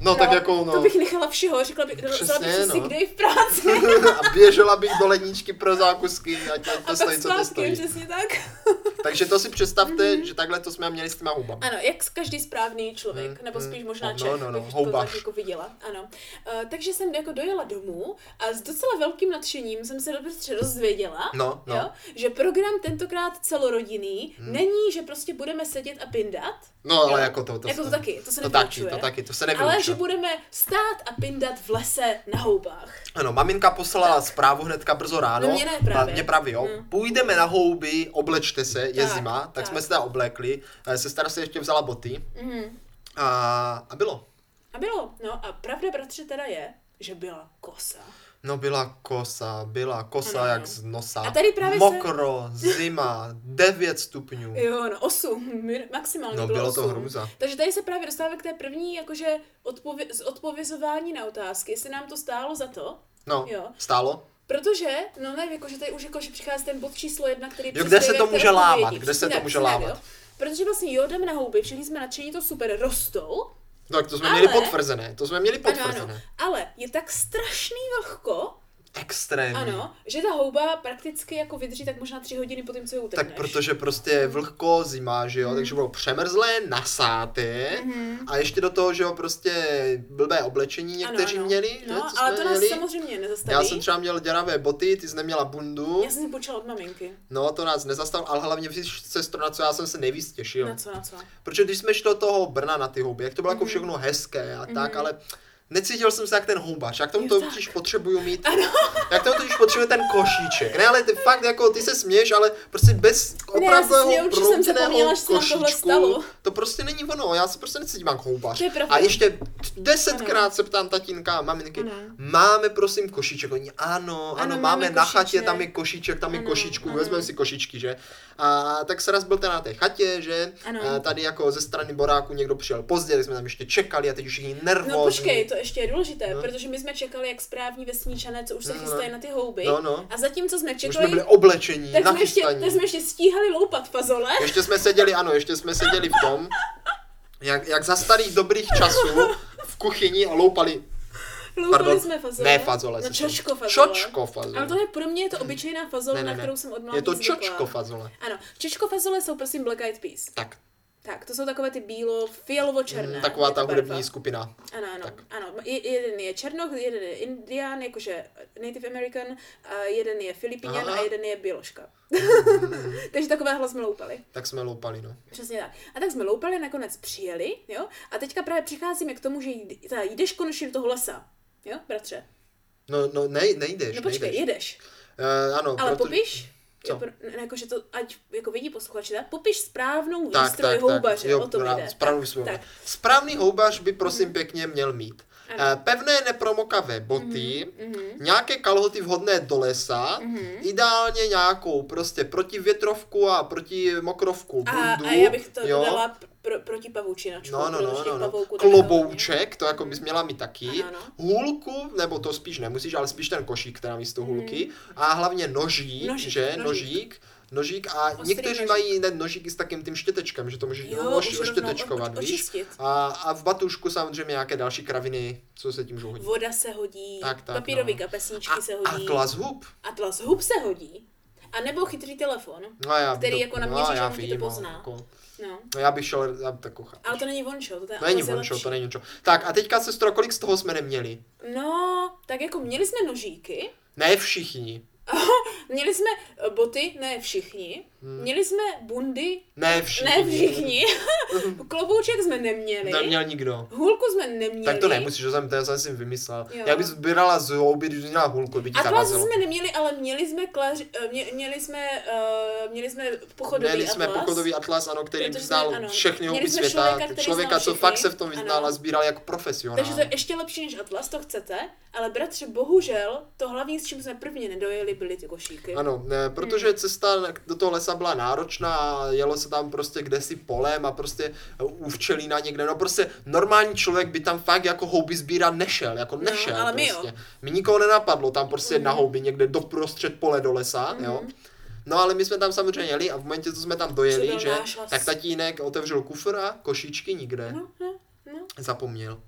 Speaker 2: no,
Speaker 1: tak jako, no.
Speaker 2: To bych nechala všeho, řekla bych, dala- dala bych
Speaker 1: Přesně,
Speaker 2: si
Speaker 1: no.
Speaker 2: no. kde v práci.
Speaker 1: a běžela bych do ledničky pro zákusky, ať to,
Speaker 2: A
Speaker 1: to
Speaker 2: pak
Speaker 1: stojí, co to
Speaker 2: zpátky,
Speaker 1: stojí.
Speaker 2: přesně tak.
Speaker 1: Takže to si představte,
Speaker 2: Mhm.
Speaker 1: že takhle to jsme měli s těma hubama.
Speaker 2: Ano, jak s každý správný člověk,
Speaker 1: Mm,
Speaker 2: nebo
Speaker 1: mm.
Speaker 2: spíš možná
Speaker 1: No,
Speaker 2: Čech,
Speaker 1: no, no,
Speaker 2: bych to
Speaker 1: houbař.
Speaker 2: tak jako viděla. Ano. Uh, takže jsem jako dojela domů a s docela velkým nadšením jsem se dobře dozvěděla,
Speaker 1: No, no. Hmm.
Speaker 2: Jo, že program tentokrát celorodinný není, že prostě budeme sedět a pindat,
Speaker 1: No, ale jako to, to,
Speaker 2: jako to taky, to se
Speaker 1: to taky,
Speaker 2: nevylučuje.
Speaker 1: to taky, to se
Speaker 2: Ale
Speaker 1: nevylučuje.
Speaker 2: že budeme stát a pindat v lese na houbách.
Speaker 1: Ano, maminka poslala zprávu hnedka brzo ráno.
Speaker 2: No mě ne právě.
Speaker 1: A Mě právě, jo.
Speaker 2: Mm.
Speaker 1: Půjdeme na houby, oblečte se, je
Speaker 2: Tak,
Speaker 1: zima, tak,
Speaker 2: tak.
Speaker 1: jsme se teda oblekli. Eh, Sestra si ještě vzala boty
Speaker 2: Mm.
Speaker 1: a, a bylo.
Speaker 2: A bylo. No a pravda, bratře, teda je, že byla kosa.
Speaker 1: No byla kosa, byla kosa
Speaker 2: Ano,
Speaker 1: jak
Speaker 2: ano.
Speaker 1: z nosa.
Speaker 2: A tady právě se-
Speaker 1: Mokro, zima, 9 stupňů.
Speaker 2: Jo, no osm, mi- maximálně
Speaker 1: No
Speaker 2: bylo,
Speaker 1: bylo to
Speaker 2: osm.
Speaker 1: hrůza.
Speaker 2: Takže tady se právě dostáváme k té první, jakože odpově- z odpovězování na otázky, jestli nám to stálo za to,
Speaker 1: No,
Speaker 2: Jo.
Speaker 1: stálo?
Speaker 2: Protože, no ne, jakože tady už jako, že přichází ten bod číslo jedna, který
Speaker 1: kde
Speaker 2: přispěje
Speaker 1: se to
Speaker 2: k té
Speaker 1: může lámat,
Speaker 2: odpovědi.
Speaker 1: kde se
Speaker 2: Přesně
Speaker 1: to
Speaker 2: tak,
Speaker 1: může
Speaker 2: přesně tak,
Speaker 1: lámat.
Speaker 2: jo. Protože vlastně jo, jdeme na houby, všichni jsme nadšení, to super, rostou.
Speaker 1: No, tak to jsme
Speaker 2: Ale-
Speaker 1: měli potvrzené, to jsme měli
Speaker 2: Ano, ano.
Speaker 1: potvrzené.
Speaker 2: Ale je tak strašný vlhko,
Speaker 1: Extrémní.
Speaker 2: ano, že ta houba prakticky jako vydrží tak možná tři hodiny po tím, co ji utrhneš.
Speaker 1: Tak protože prostě je vlhko, zima, že jo,
Speaker 2: Mhm.
Speaker 1: takže bylo přemrzlé, nasáté a ještě do toho, že jo, prostě blbé oblečení někteří měli, že,
Speaker 2: No,
Speaker 1: co
Speaker 2: ale
Speaker 1: jsme
Speaker 2: to nás
Speaker 1: měli.
Speaker 2: samozřejmě nezastaví.
Speaker 1: Já jsem třeba měl děravé boty, ty jsi neměla bundu,
Speaker 2: Já jsem si počala od maminky.
Speaker 1: no to nás nezastavilo, ale hlavně víš, sestro, na co já jsem se nejvíc těšil.
Speaker 2: Na co, na co? No
Speaker 1: Protože když jsme šli do toho Brna na ty houby, jak to bylo jako
Speaker 2: Mhm.
Speaker 1: všechno hezké a tak, ale necítil jsem se jak ten houbař, jak tomu
Speaker 2: Jo,
Speaker 1: to
Speaker 2: Mhm. tak.
Speaker 1: totiž potřebuju mít, jak tomu totiž potřebuje ten košíček. Ne, ale ty fakt jako, ty se směješ, ale prostě bez
Speaker 2: já se
Speaker 1: opravdového
Speaker 2: směju, že jsem zapomněla,
Speaker 1: prouděného
Speaker 2: že se nám tohle
Speaker 1: košíčku,
Speaker 2: stalo.
Speaker 1: to prostě není ono, já se prostě necítím jak houbař.
Speaker 2: To je pravda.
Speaker 1: A ještě desetkrát se ptám tatínka a maminky,
Speaker 2: Ano.
Speaker 1: máme prosím košíček, oni ano, ano,
Speaker 2: máme
Speaker 1: máme na chatě,
Speaker 2: košíček.
Speaker 1: tam je košíček, tam je
Speaker 2: Ano,
Speaker 1: košíčku,
Speaker 2: ano.
Speaker 1: vezmeme si košíčky, že? A tak se raz byl ten na té chatě, že?
Speaker 2: Ano.
Speaker 1: A tady jako ze strany boráku někdo přijel pozdě, tak jsme tam ještě čekali a teď už všichni nervózní.
Speaker 2: No počkej, to ještě je důležité,
Speaker 1: Vlastně- No.
Speaker 2: protože my jsme čekali jak správní vesničané, co už se
Speaker 1: No, no.
Speaker 2: chystají na ty houby.
Speaker 1: No, no.
Speaker 2: A zatímco jsme
Speaker 1: Už jsme
Speaker 2: čekali,
Speaker 1: byli oblečení,
Speaker 2: tak, jsme ještě,
Speaker 1: nachystaní.
Speaker 2: tak jsme ještě stíhali loupat fazole.
Speaker 1: Ještě jsme seděli, ano, ještě jsme seděli v tom, jak, jak za starých dobrých časů v kuchyni a loupali,
Speaker 2: Loupali
Speaker 1: pardon,
Speaker 2: jsme fazole.
Speaker 1: ne fazole.
Speaker 2: No
Speaker 1: sestro.
Speaker 2: čočko fazole.
Speaker 1: Čočko fazole.
Speaker 2: Ale tohle pro mě je to obyčejná fazole,
Speaker 1: Ne, ne,
Speaker 2: na
Speaker 1: ne.
Speaker 2: kterou jsem od mládí
Speaker 1: Je to
Speaker 2: zvyklá.
Speaker 1: čočko fazole.
Speaker 2: Ano, čočko fazole jsou prosím Black Eyed Peas.
Speaker 1: Tak,
Speaker 2: Tak, to jsou takové ty bílo, fialovo-černé.
Speaker 1: Mm, taková
Speaker 2: je
Speaker 1: ta
Speaker 2: barva.
Speaker 1: hudební skupina.
Speaker 2: Ano, ano,
Speaker 1: Tak.
Speaker 2: ano. Je, jeden je Černoch, jeden je Indián, jakože Native American, a jeden je Filipíňan
Speaker 1: Aha. Mm.
Speaker 2: a jeden je Běloška. Takže takovéhle jsme loupali.
Speaker 1: Tak jsme loupali, no.
Speaker 2: Přesně tak. A tak jsme loupali, nakonec přijeli, jo? A teďka právě přicházíme k tomu, že jd, ta, jdeš konečně do toho lesa. Jo, bratře?
Speaker 1: No, no, nej, nejdeš,
Speaker 2: No počkej,
Speaker 1: nejdeš.
Speaker 2: jedeš.
Speaker 1: Uh, ano,
Speaker 2: Ale
Speaker 1: proto-
Speaker 2: popiš,
Speaker 1: Co?
Speaker 2: Jo, pro- ne, jakože to, ať jako vidí posluchači, tak popiš správnou
Speaker 1: Tak,
Speaker 2: výstroj
Speaker 1: tak,
Speaker 2: houbaře,
Speaker 1: tak. Jo,
Speaker 2: o tom
Speaker 1: pra-
Speaker 2: jde.
Speaker 1: Správný,
Speaker 2: tak,
Speaker 1: výstroj.
Speaker 2: tak, Mhm.
Speaker 1: správný houbař by prosím pěkně měl mít.
Speaker 2: Ano.
Speaker 1: Eh, Pevné nepromokavé boty,
Speaker 2: mhm.
Speaker 1: nějaké kalhoty vhodné do lesa, ideálně nějakou prostě protivětrovku a proti mokrovku
Speaker 2: A,
Speaker 1: bundu.
Speaker 2: a já bych to
Speaker 1: jo.
Speaker 2: dodala p- pro, proti pavučinačku.
Speaker 1: No, no,
Speaker 2: protože
Speaker 1: no,
Speaker 2: těch
Speaker 1: no, no.
Speaker 2: pavouků taky
Speaker 1: Klobouček, to jako bys měla mít taky.
Speaker 2: Ano, no.
Speaker 1: Hůlku, nebo to spíš nemusíš, ale spíš ten košík, teda místo hůlky. A hlavně nožík,
Speaker 2: Mhm. Nožík,
Speaker 1: že?
Speaker 2: nožík.
Speaker 1: Nožík. Nožík a
Speaker 2: Ostrý
Speaker 1: někteří
Speaker 2: nožík.
Speaker 1: mají ten nožík i s takým tím štětečkem, že to můžeš
Speaker 2: Jo,
Speaker 1: jo, oš,
Speaker 2: už rovnou
Speaker 1: oštětečkovat,
Speaker 2: od-
Speaker 1: víš?
Speaker 2: očistit.
Speaker 1: A, a v batušku samozřejmě nějaké další kraviny, co se tím můžou hodit.
Speaker 2: Voda se hodí,
Speaker 1: Tak, tak,
Speaker 2: papírové
Speaker 1: no.
Speaker 2: kapesníčky se
Speaker 1: A, a
Speaker 2: hodí,
Speaker 1: klas hub.
Speaker 2: atlas hub se hodí. A nebo chytrý telefon.
Speaker 1: No, já,
Speaker 2: Který jako
Speaker 1: na
Speaker 2: naměříš, že on ti to pozná.
Speaker 1: Jako,
Speaker 2: No.
Speaker 1: no já bych šel, já bych tak kochal.
Speaker 2: Ale to není vončo, to, to je
Speaker 1: To není
Speaker 2: Alze
Speaker 1: vončo,
Speaker 2: lepší.
Speaker 1: to není čo. Tak a teďka, sestro, kolik z toho jsme neměli?
Speaker 2: No, tak jako měli jsme nožíky,
Speaker 1: Ne všichni.
Speaker 2: měli jsme eh, boty, ne všichni, měli jsme bundy,
Speaker 1: Ne Hmm. všichni. Hmm.
Speaker 2: ne všichni, klobouček jsme neměli,
Speaker 1: Neměl nikdo.
Speaker 2: hůlku jsme neměli,
Speaker 1: Tak to nemusíš, že jsem, to já jsem si vymyslel.
Speaker 2: Jo.
Speaker 1: Já bych sbírala z houby, když měla hulku, by ti
Speaker 2: atlas
Speaker 1: zavazilo.
Speaker 2: jsme neměli, ale měli jsme, klaři, eh, mě, měli jsme, eh, měli jsme pochodový
Speaker 1: Měli jsme
Speaker 2: atlas.
Speaker 1: pochodový atlas, ano, který
Speaker 2: Protože jsme-
Speaker 1: vyznal
Speaker 2: ano.
Speaker 1: všechny
Speaker 2: Měli
Speaker 1: houby
Speaker 2: jsme
Speaker 1: světa.
Speaker 2: člověka, který
Speaker 1: člověka
Speaker 2: znal
Speaker 1: co
Speaker 2: všechny.
Speaker 1: fakt se v tom vyznal
Speaker 2: Ano.
Speaker 1: a sbíral jako profesionál.
Speaker 2: Takže to je ještě lepší než atlas, to chcete, ale bratře, bohužel, to hlavní, s čím jsme prvně nedojeli, byly ty košíky.
Speaker 1: Ano, ne, protože
Speaker 2: Hmm.
Speaker 1: cesta na- do toho lesa byla náročná a jelo se tam prostě kdesi polem a prostě e, u včelína někde. No prostě normální člověk by tam fakt jako houby sbírat nešel, jako nešel
Speaker 2: No, ale my jo. Hmm.
Speaker 1: prostě. My nikoho nenapadlo tam prostě na houby někde doprostřed pole do lesa, jo. No ale my jsme tam samozřejmě jeli a v momentě, co jsme tam
Speaker 2: Co
Speaker 1: dojeli,
Speaker 2: byl
Speaker 1: že,
Speaker 2: náš les?
Speaker 1: tak tatínek otevřel kufr a košíčky nikde.
Speaker 2: No, no, no.
Speaker 1: Zapomněl.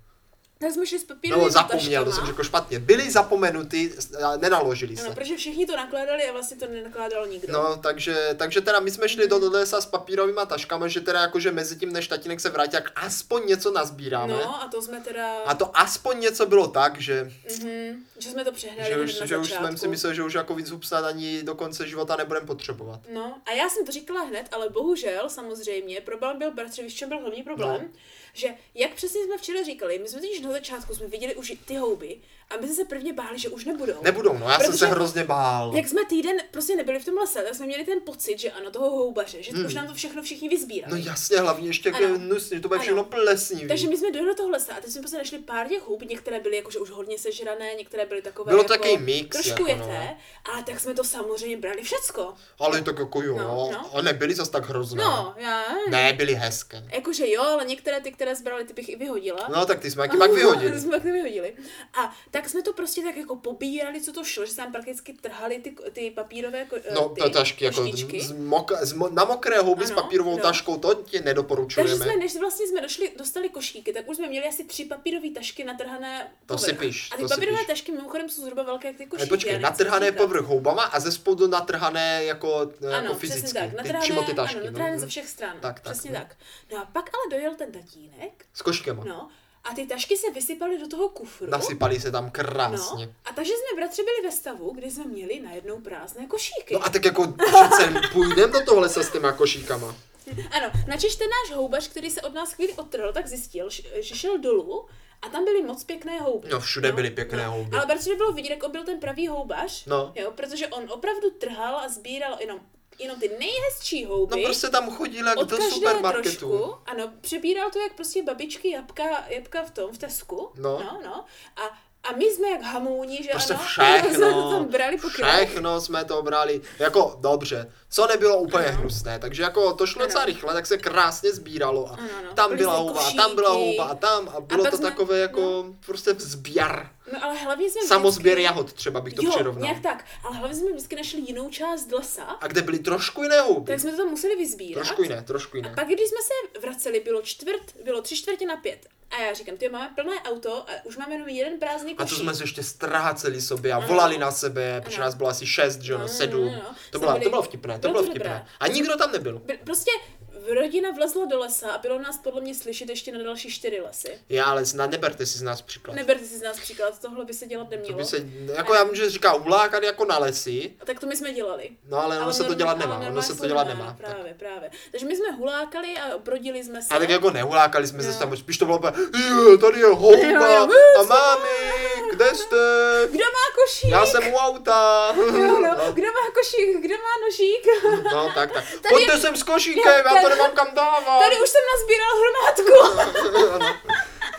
Speaker 2: Tak jsme šli s papírovými
Speaker 1: No zapomněl, to
Speaker 2: taškama.
Speaker 1: jsem řekl špatně. Byli zapomenuty, s- a nenaložili se.
Speaker 2: Ano, protože všichni to nakládali a vlastně to nenakládal nikdo.
Speaker 1: No, takže, takže teda my jsme šli
Speaker 2: Mhm.
Speaker 1: do do lesa s papírovými taškama, že teda jakože mezi tím, než tatínek se vrátí, tak aspoň něco nazbíráme.
Speaker 2: no a to jsme teda,
Speaker 1: A to aspoň něco bylo tak, že,
Speaker 2: mhm, že jsme to přehnali
Speaker 1: že,
Speaker 2: hned
Speaker 1: už,
Speaker 2: na
Speaker 1: že už
Speaker 2: začátku.
Speaker 1: jsem si myslel, že už jako víc hub snad ani do konce života nebudeme potřebovat.
Speaker 2: No, a já jsem to říkala hned, ale bohužel samozřejmě problém byl, bratře, víš, v čem byl hlavní problém?
Speaker 1: No.
Speaker 2: Že jak přesně jsme včera říkali, my jsme totiž na začátku jsme viděli už ty houby a my jsme se prvně báli, že už nebudou.
Speaker 1: Nebudou, no, já jsem
Speaker 2: Protože-
Speaker 1: se hrozně bál.
Speaker 2: Jak jsme týden prostě nebyli v tom lese, tak jsme měli ten pocit, že ano, toho houbaře, že už nám to všechno všichni vyzbírali.
Speaker 1: Hmm. No jasně, hlavně ještě jak
Speaker 2: Ano.
Speaker 1: je nusný, to bude
Speaker 2: Ano.
Speaker 1: všechno plesnivý.
Speaker 2: Takže my jsme dojeli do toho lesa a teď jsme prostě našli pár těch hub, některé byly jakože už hodně sežrané, některé byly takové
Speaker 1: Bylo
Speaker 2: jako
Speaker 1: takový mix,
Speaker 2: trošku
Speaker 1: jako no.
Speaker 2: jeté, ale tak jsme to samozřejmě brali všecko.
Speaker 1: Ale tak jako jo,
Speaker 2: No, no.
Speaker 1: a nebyly zas tak hrozné.
Speaker 2: No, Eh. já
Speaker 1: Ne, byly hezké.
Speaker 2: Jakože jo, ale některé ty, které zbrali, ty bych i vyhodila.
Speaker 1: No tak ty jsme taky pak vyhodili.
Speaker 2: Ty jsme pak vyhodili. A tak jsme to prostě tak jako pobírali, co to šlo, že se nám prakticky trhali ty, ty papírové ko- eh,
Speaker 1: No,
Speaker 2: ty
Speaker 1: ta tašky jako
Speaker 2: koštičky.
Speaker 1: z mok, z mo, na mokré houby s
Speaker 2: Ano,
Speaker 1: papírovou
Speaker 2: no.
Speaker 1: taškou, to ti
Speaker 2: Takže
Speaker 1: nedoporučujeme.
Speaker 2: jsme, než vlastně jsme došli, dostali košíky, tak už jsme měli asi tři papírové tašky natrhané
Speaker 1: To
Speaker 2: povrch.
Speaker 1: si piš,
Speaker 2: A ty
Speaker 1: to si
Speaker 2: papírové
Speaker 1: piš.
Speaker 2: tašky mimochodem jsou zhruba velké jak ty košíky.
Speaker 1: ne, počkej,
Speaker 2: já nechci
Speaker 1: natrhané
Speaker 2: říkat.
Speaker 1: povrch houbama a ze spodu natrhané jako, ano,
Speaker 2: Ano,
Speaker 1: jako
Speaker 2: přesně
Speaker 1: fyzicky,
Speaker 2: tak.
Speaker 1: ty,
Speaker 2: Natrhané,
Speaker 1: přímo ty tašky.
Speaker 2: ano,
Speaker 1: no.
Speaker 2: natrhané
Speaker 1: Mhm.
Speaker 2: ze všech stran.
Speaker 1: Tak, tak,
Speaker 2: přesně
Speaker 1: no.
Speaker 2: tak. No a pak ale dojel ten tatínek,
Speaker 1: S koškema.
Speaker 2: no, a ty tašky se vysypaly do toho kufru.
Speaker 1: Nasypali se tam krásně.
Speaker 2: No, a takže jsme bratře byli ve stavu, kdy jsme měli najednou prázdné košíky.
Speaker 1: No a tak jako přece půjdem do toho lesa s těma košíkama.
Speaker 2: Ano, načež ten náš houbař, který se od nás chvíli odtrhl, tak zjistil, š- že šel dolů a tam byly moc pěkné houby.
Speaker 1: No, všude byly pěkné houby.
Speaker 2: Ale bratře bylo vidět, jak on byl ten pravý houbař,
Speaker 1: No.
Speaker 2: jo, protože on opravdu trhal a sbíral jenom, jenom ty nejhezčí houby.
Speaker 1: No prostě tam chodil jak
Speaker 2: od
Speaker 1: do
Speaker 2: každé
Speaker 1: supermarketu.
Speaker 2: trošku, ano, přebíral to jak prostě babičky jabka, jabka v tom, v Tesku,
Speaker 1: No.
Speaker 2: no, no. A, a my jsme jak hamouni, že
Speaker 1: Prostě
Speaker 2: ano, jsme to
Speaker 1: všechno,
Speaker 2: tam brali po krajích.
Speaker 1: všechno jsme to brali, jako dobře, co nebylo úplně hnusné, takže jako to šlo
Speaker 2: Ano.
Speaker 1: docela rychle, tak se krásně sbíralo a
Speaker 2: Ano, ano.
Speaker 1: tam
Speaker 2: Byly
Speaker 1: byla
Speaker 2: zde
Speaker 1: houba a tam
Speaker 2: košíky.
Speaker 1: byla houba a tam a bylo
Speaker 2: pak
Speaker 1: to
Speaker 2: jsme-
Speaker 1: takové jako prostě vzběr,
Speaker 2: No ale hlavně jsme
Speaker 1: samozběr jahod třeba bych to
Speaker 2: jo,
Speaker 1: přirovnal.
Speaker 2: nějak tak. Ale hlavně jsme vždycky našli jinou část lesa,
Speaker 1: A kde byly trošku jiné houby,
Speaker 2: tak jsme to tam museli vyzbírat.
Speaker 1: trošku jiné, trošku
Speaker 2: A
Speaker 1: jiné.
Speaker 2: pak, když jsme se vraceli, bylo čtvrt, bylo tři čtvrtě na pět. A já říkám, ty máme plné auto a už máme jenom jeden prázdný
Speaker 1: A to
Speaker 2: košík.
Speaker 1: jsme se ještě ztráceli sobě a volali na sebe, protože
Speaker 2: Ano.
Speaker 1: nás bylo asi šest, že jo,
Speaker 2: No, no, no,
Speaker 1: sedm.
Speaker 2: no.
Speaker 1: To
Speaker 2: Jsme
Speaker 1: bylo,
Speaker 2: byli-
Speaker 1: to bylo vtipné, to
Speaker 2: bylo
Speaker 1: bylo
Speaker 2: to dobré.
Speaker 1: vtipné. A nikdo tam nebyl.
Speaker 2: Byl- Prostě rodina vlezla do lesa a bylo nás podle mě slyšet ještě na další čtyři lesy.
Speaker 1: Já, ale snad neberte si z nás příklad.
Speaker 2: Neberte si z nás příklad, tohle by se dělat
Speaker 1: To
Speaker 2: nemělo.
Speaker 1: by se, jako já vím, že říká ulákat jako na lesy,
Speaker 2: A tak to my jsme dělali.
Speaker 1: no ale ono se to
Speaker 2: normál-
Speaker 1: dělat
Speaker 2: ale
Speaker 1: nemá, ono
Speaker 2: normálně
Speaker 1: se to dělat
Speaker 2: nemá,
Speaker 1: nemá. tak.
Speaker 2: Právě, právě. Takže my jsme hulákali a brodili jsme se.
Speaker 1: A tak jako nehulákali jsme
Speaker 2: No.
Speaker 1: se tam, spíš to bylo úplně, "Jo, tady je houba
Speaker 2: Jo, jo,
Speaker 1: a
Speaker 2: co
Speaker 1: mami, kde jste?
Speaker 2: Kdo má košík?
Speaker 1: Já jsem u auta.
Speaker 2: Jo, no.
Speaker 1: No,
Speaker 2: Kdo má košík? Kdo má nožík?
Speaker 1: No, tak, tak.
Speaker 2: Tady
Speaker 1: Pojďte sem s košíkem, já to
Speaker 2: tady-
Speaker 1: nemám kam dávat.
Speaker 2: Tady už jsem nazbíral hromádku.
Speaker 1: Ano.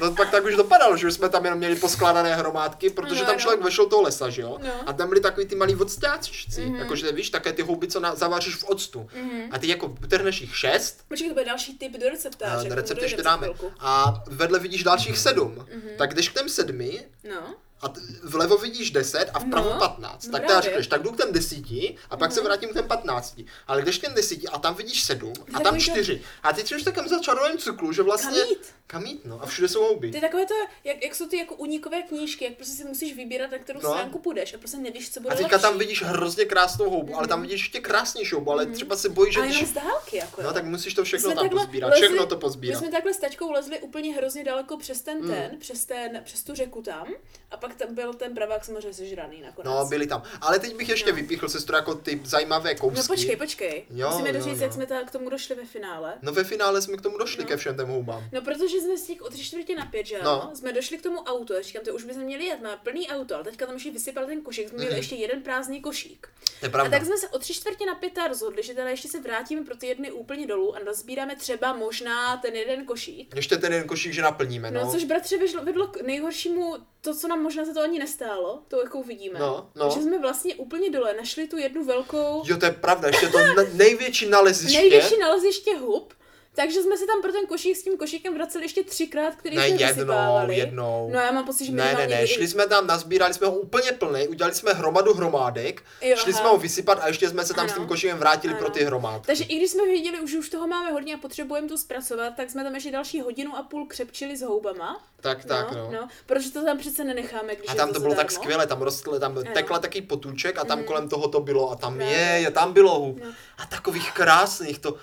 Speaker 1: No pak tak už dopadalo, že už jsme tam jenom měli poskládané hromádky, protože
Speaker 2: No,
Speaker 1: tam
Speaker 2: no.
Speaker 1: člověk vešel toho lesa, že jo?
Speaker 2: No. Mhm.
Speaker 1: A tam byly takový ty malí odstáčci, mm-hmm. jakože víš, také ty houby, co na, zavaříš v octu. Mm-hmm. A ty jako potrhneš jich šest,
Speaker 2: Počkej, to bude další tip do receptáře.
Speaker 1: a
Speaker 2: k tomu
Speaker 1: recept
Speaker 2: dojdeme
Speaker 1: ještě
Speaker 2: za
Speaker 1: dáme,
Speaker 2: chvilku. Mhm.
Speaker 1: a vedle vidíš dalších sedm, mm-hmm. tak jdeš k těm sedmi,
Speaker 2: No,
Speaker 1: a t- vlevo vidíš 10 a vpravo
Speaker 2: No,
Speaker 1: 15.
Speaker 2: no
Speaker 1: Tak
Speaker 2: právě. Mhm.
Speaker 1: teda řekneš, tak jdu k těm 10 a pak se vrátím k těm 15. Ale když k těm 10 a tam vidíš 7 a
Speaker 2: Takový
Speaker 1: tam
Speaker 2: to-
Speaker 1: 4. A teď jsi už v takovém začarovém cyklu, že vlastně...
Speaker 2: Kam jít?
Speaker 1: Kam jít, no. A všude jsou houby.
Speaker 2: to je takové to, jak, jak jsou ty jako unikové knížky, jak prostě si musíš vybírat, na kterou
Speaker 1: No.
Speaker 2: stránku půjdeš a prostě nevíš, co bude
Speaker 1: A teďka tam
Speaker 2: lepší. Mhm.
Speaker 1: vidíš hrozně krásnou houbu, ale tam vidíš ještě krásnější houbu, ale třeba se bojíš, že
Speaker 2: A jenom
Speaker 1: když...
Speaker 2: z dálky, jako
Speaker 1: No
Speaker 2: jo.
Speaker 1: tak musíš to všechno
Speaker 2: My
Speaker 1: tam
Speaker 2: takhle
Speaker 1: pozbírat,
Speaker 2: lezli-
Speaker 1: všechno to Hmm.
Speaker 2: My
Speaker 1: pozbírat.
Speaker 2: jsme takhle s taťkou lezli úplně hrozně daleko přes ten ten, přes, ten, přes tu řeku tam a pak tam byl ten pravák samozřejmě sežraný nakonec.
Speaker 1: No, byli tam. Ale teď bych ještě vypíchl sestru jako ty zajímavé kousky.
Speaker 2: No počkej, počkej.
Speaker 1: Jo,
Speaker 2: Musíme
Speaker 1: jo,
Speaker 2: doříct,
Speaker 1: jo.
Speaker 2: jak jsme ta, k tomu došli ve finále.
Speaker 1: No ve finále jsme k tomu došli ke všem těm houbám.
Speaker 2: No, protože jsme z těch o tři čtvrtě na pět, že ano,
Speaker 1: No.
Speaker 2: jsme došli k tomu autu, já říkám, to už bychom měli jet, má plný auto, ale teďka tam ještě vysypal ten košík, jsme
Speaker 1: Mhm.
Speaker 2: měli ještě jeden prázdný košík.
Speaker 1: To je
Speaker 2: A
Speaker 1: pravda.
Speaker 2: tak jsme se o tři čtvrtě na pět rozhodli, že teda ještě se vrátíme pro ty jedny úplně dolů a nazbíráme třeba možná ten jeden košík.
Speaker 1: Ještě ten jeden košík, že naplníme,
Speaker 2: No, což bratře vedlo, vedlo k nejhoršímu, to, co nám možná za to ani nestálo, to jako uvidíme.
Speaker 1: No, no.
Speaker 2: Že jsme vlastně úplně dole našli tu jednu velkou,
Speaker 1: Jo, to je pravda, ještě to ne- největší naleziště.
Speaker 2: největší naleziště hub, takže jsme se tam pro ten košík s tím košíkem vraceli ještě třikrát, který
Speaker 1: ne,
Speaker 2: jsme
Speaker 1: jednou,
Speaker 2: vysypávali.
Speaker 1: jednou.
Speaker 2: No já mám pocit, že
Speaker 1: ne, ne,
Speaker 2: minimálně
Speaker 1: ne,
Speaker 2: kdy-
Speaker 1: šli jsme tam, nazbírali jsme ho úplně plný, udělali jsme hromadu hromádek,
Speaker 2: Jo,
Speaker 1: šli
Speaker 2: aha.
Speaker 1: jsme ho vysypat a ještě jsme se tam s tím
Speaker 2: Ano.
Speaker 1: košíkem vrátili
Speaker 2: Ano.
Speaker 1: pro ty hromádky.
Speaker 2: Takže i když jsme věděli, že už toho máme hodně a potřebujeme to zpracovat, tak jsme tam ještě další hodinu a půl křepčili s houbama.
Speaker 1: tak, tak, no.
Speaker 2: no. Protože to tam přece nenecháme, když
Speaker 1: A
Speaker 2: je
Speaker 1: tam to no? bylo tak
Speaker 2: zadarmo.
Speaker 1: skvělé, tam rostl, tam tekla taky potůček a tam kolem toho to bylo a tam
Speaker 2: Právě.
Speaker 1: je, je, tam bylo hub.
Speaker 2: No.
Speaker 1: A takových krásných, to,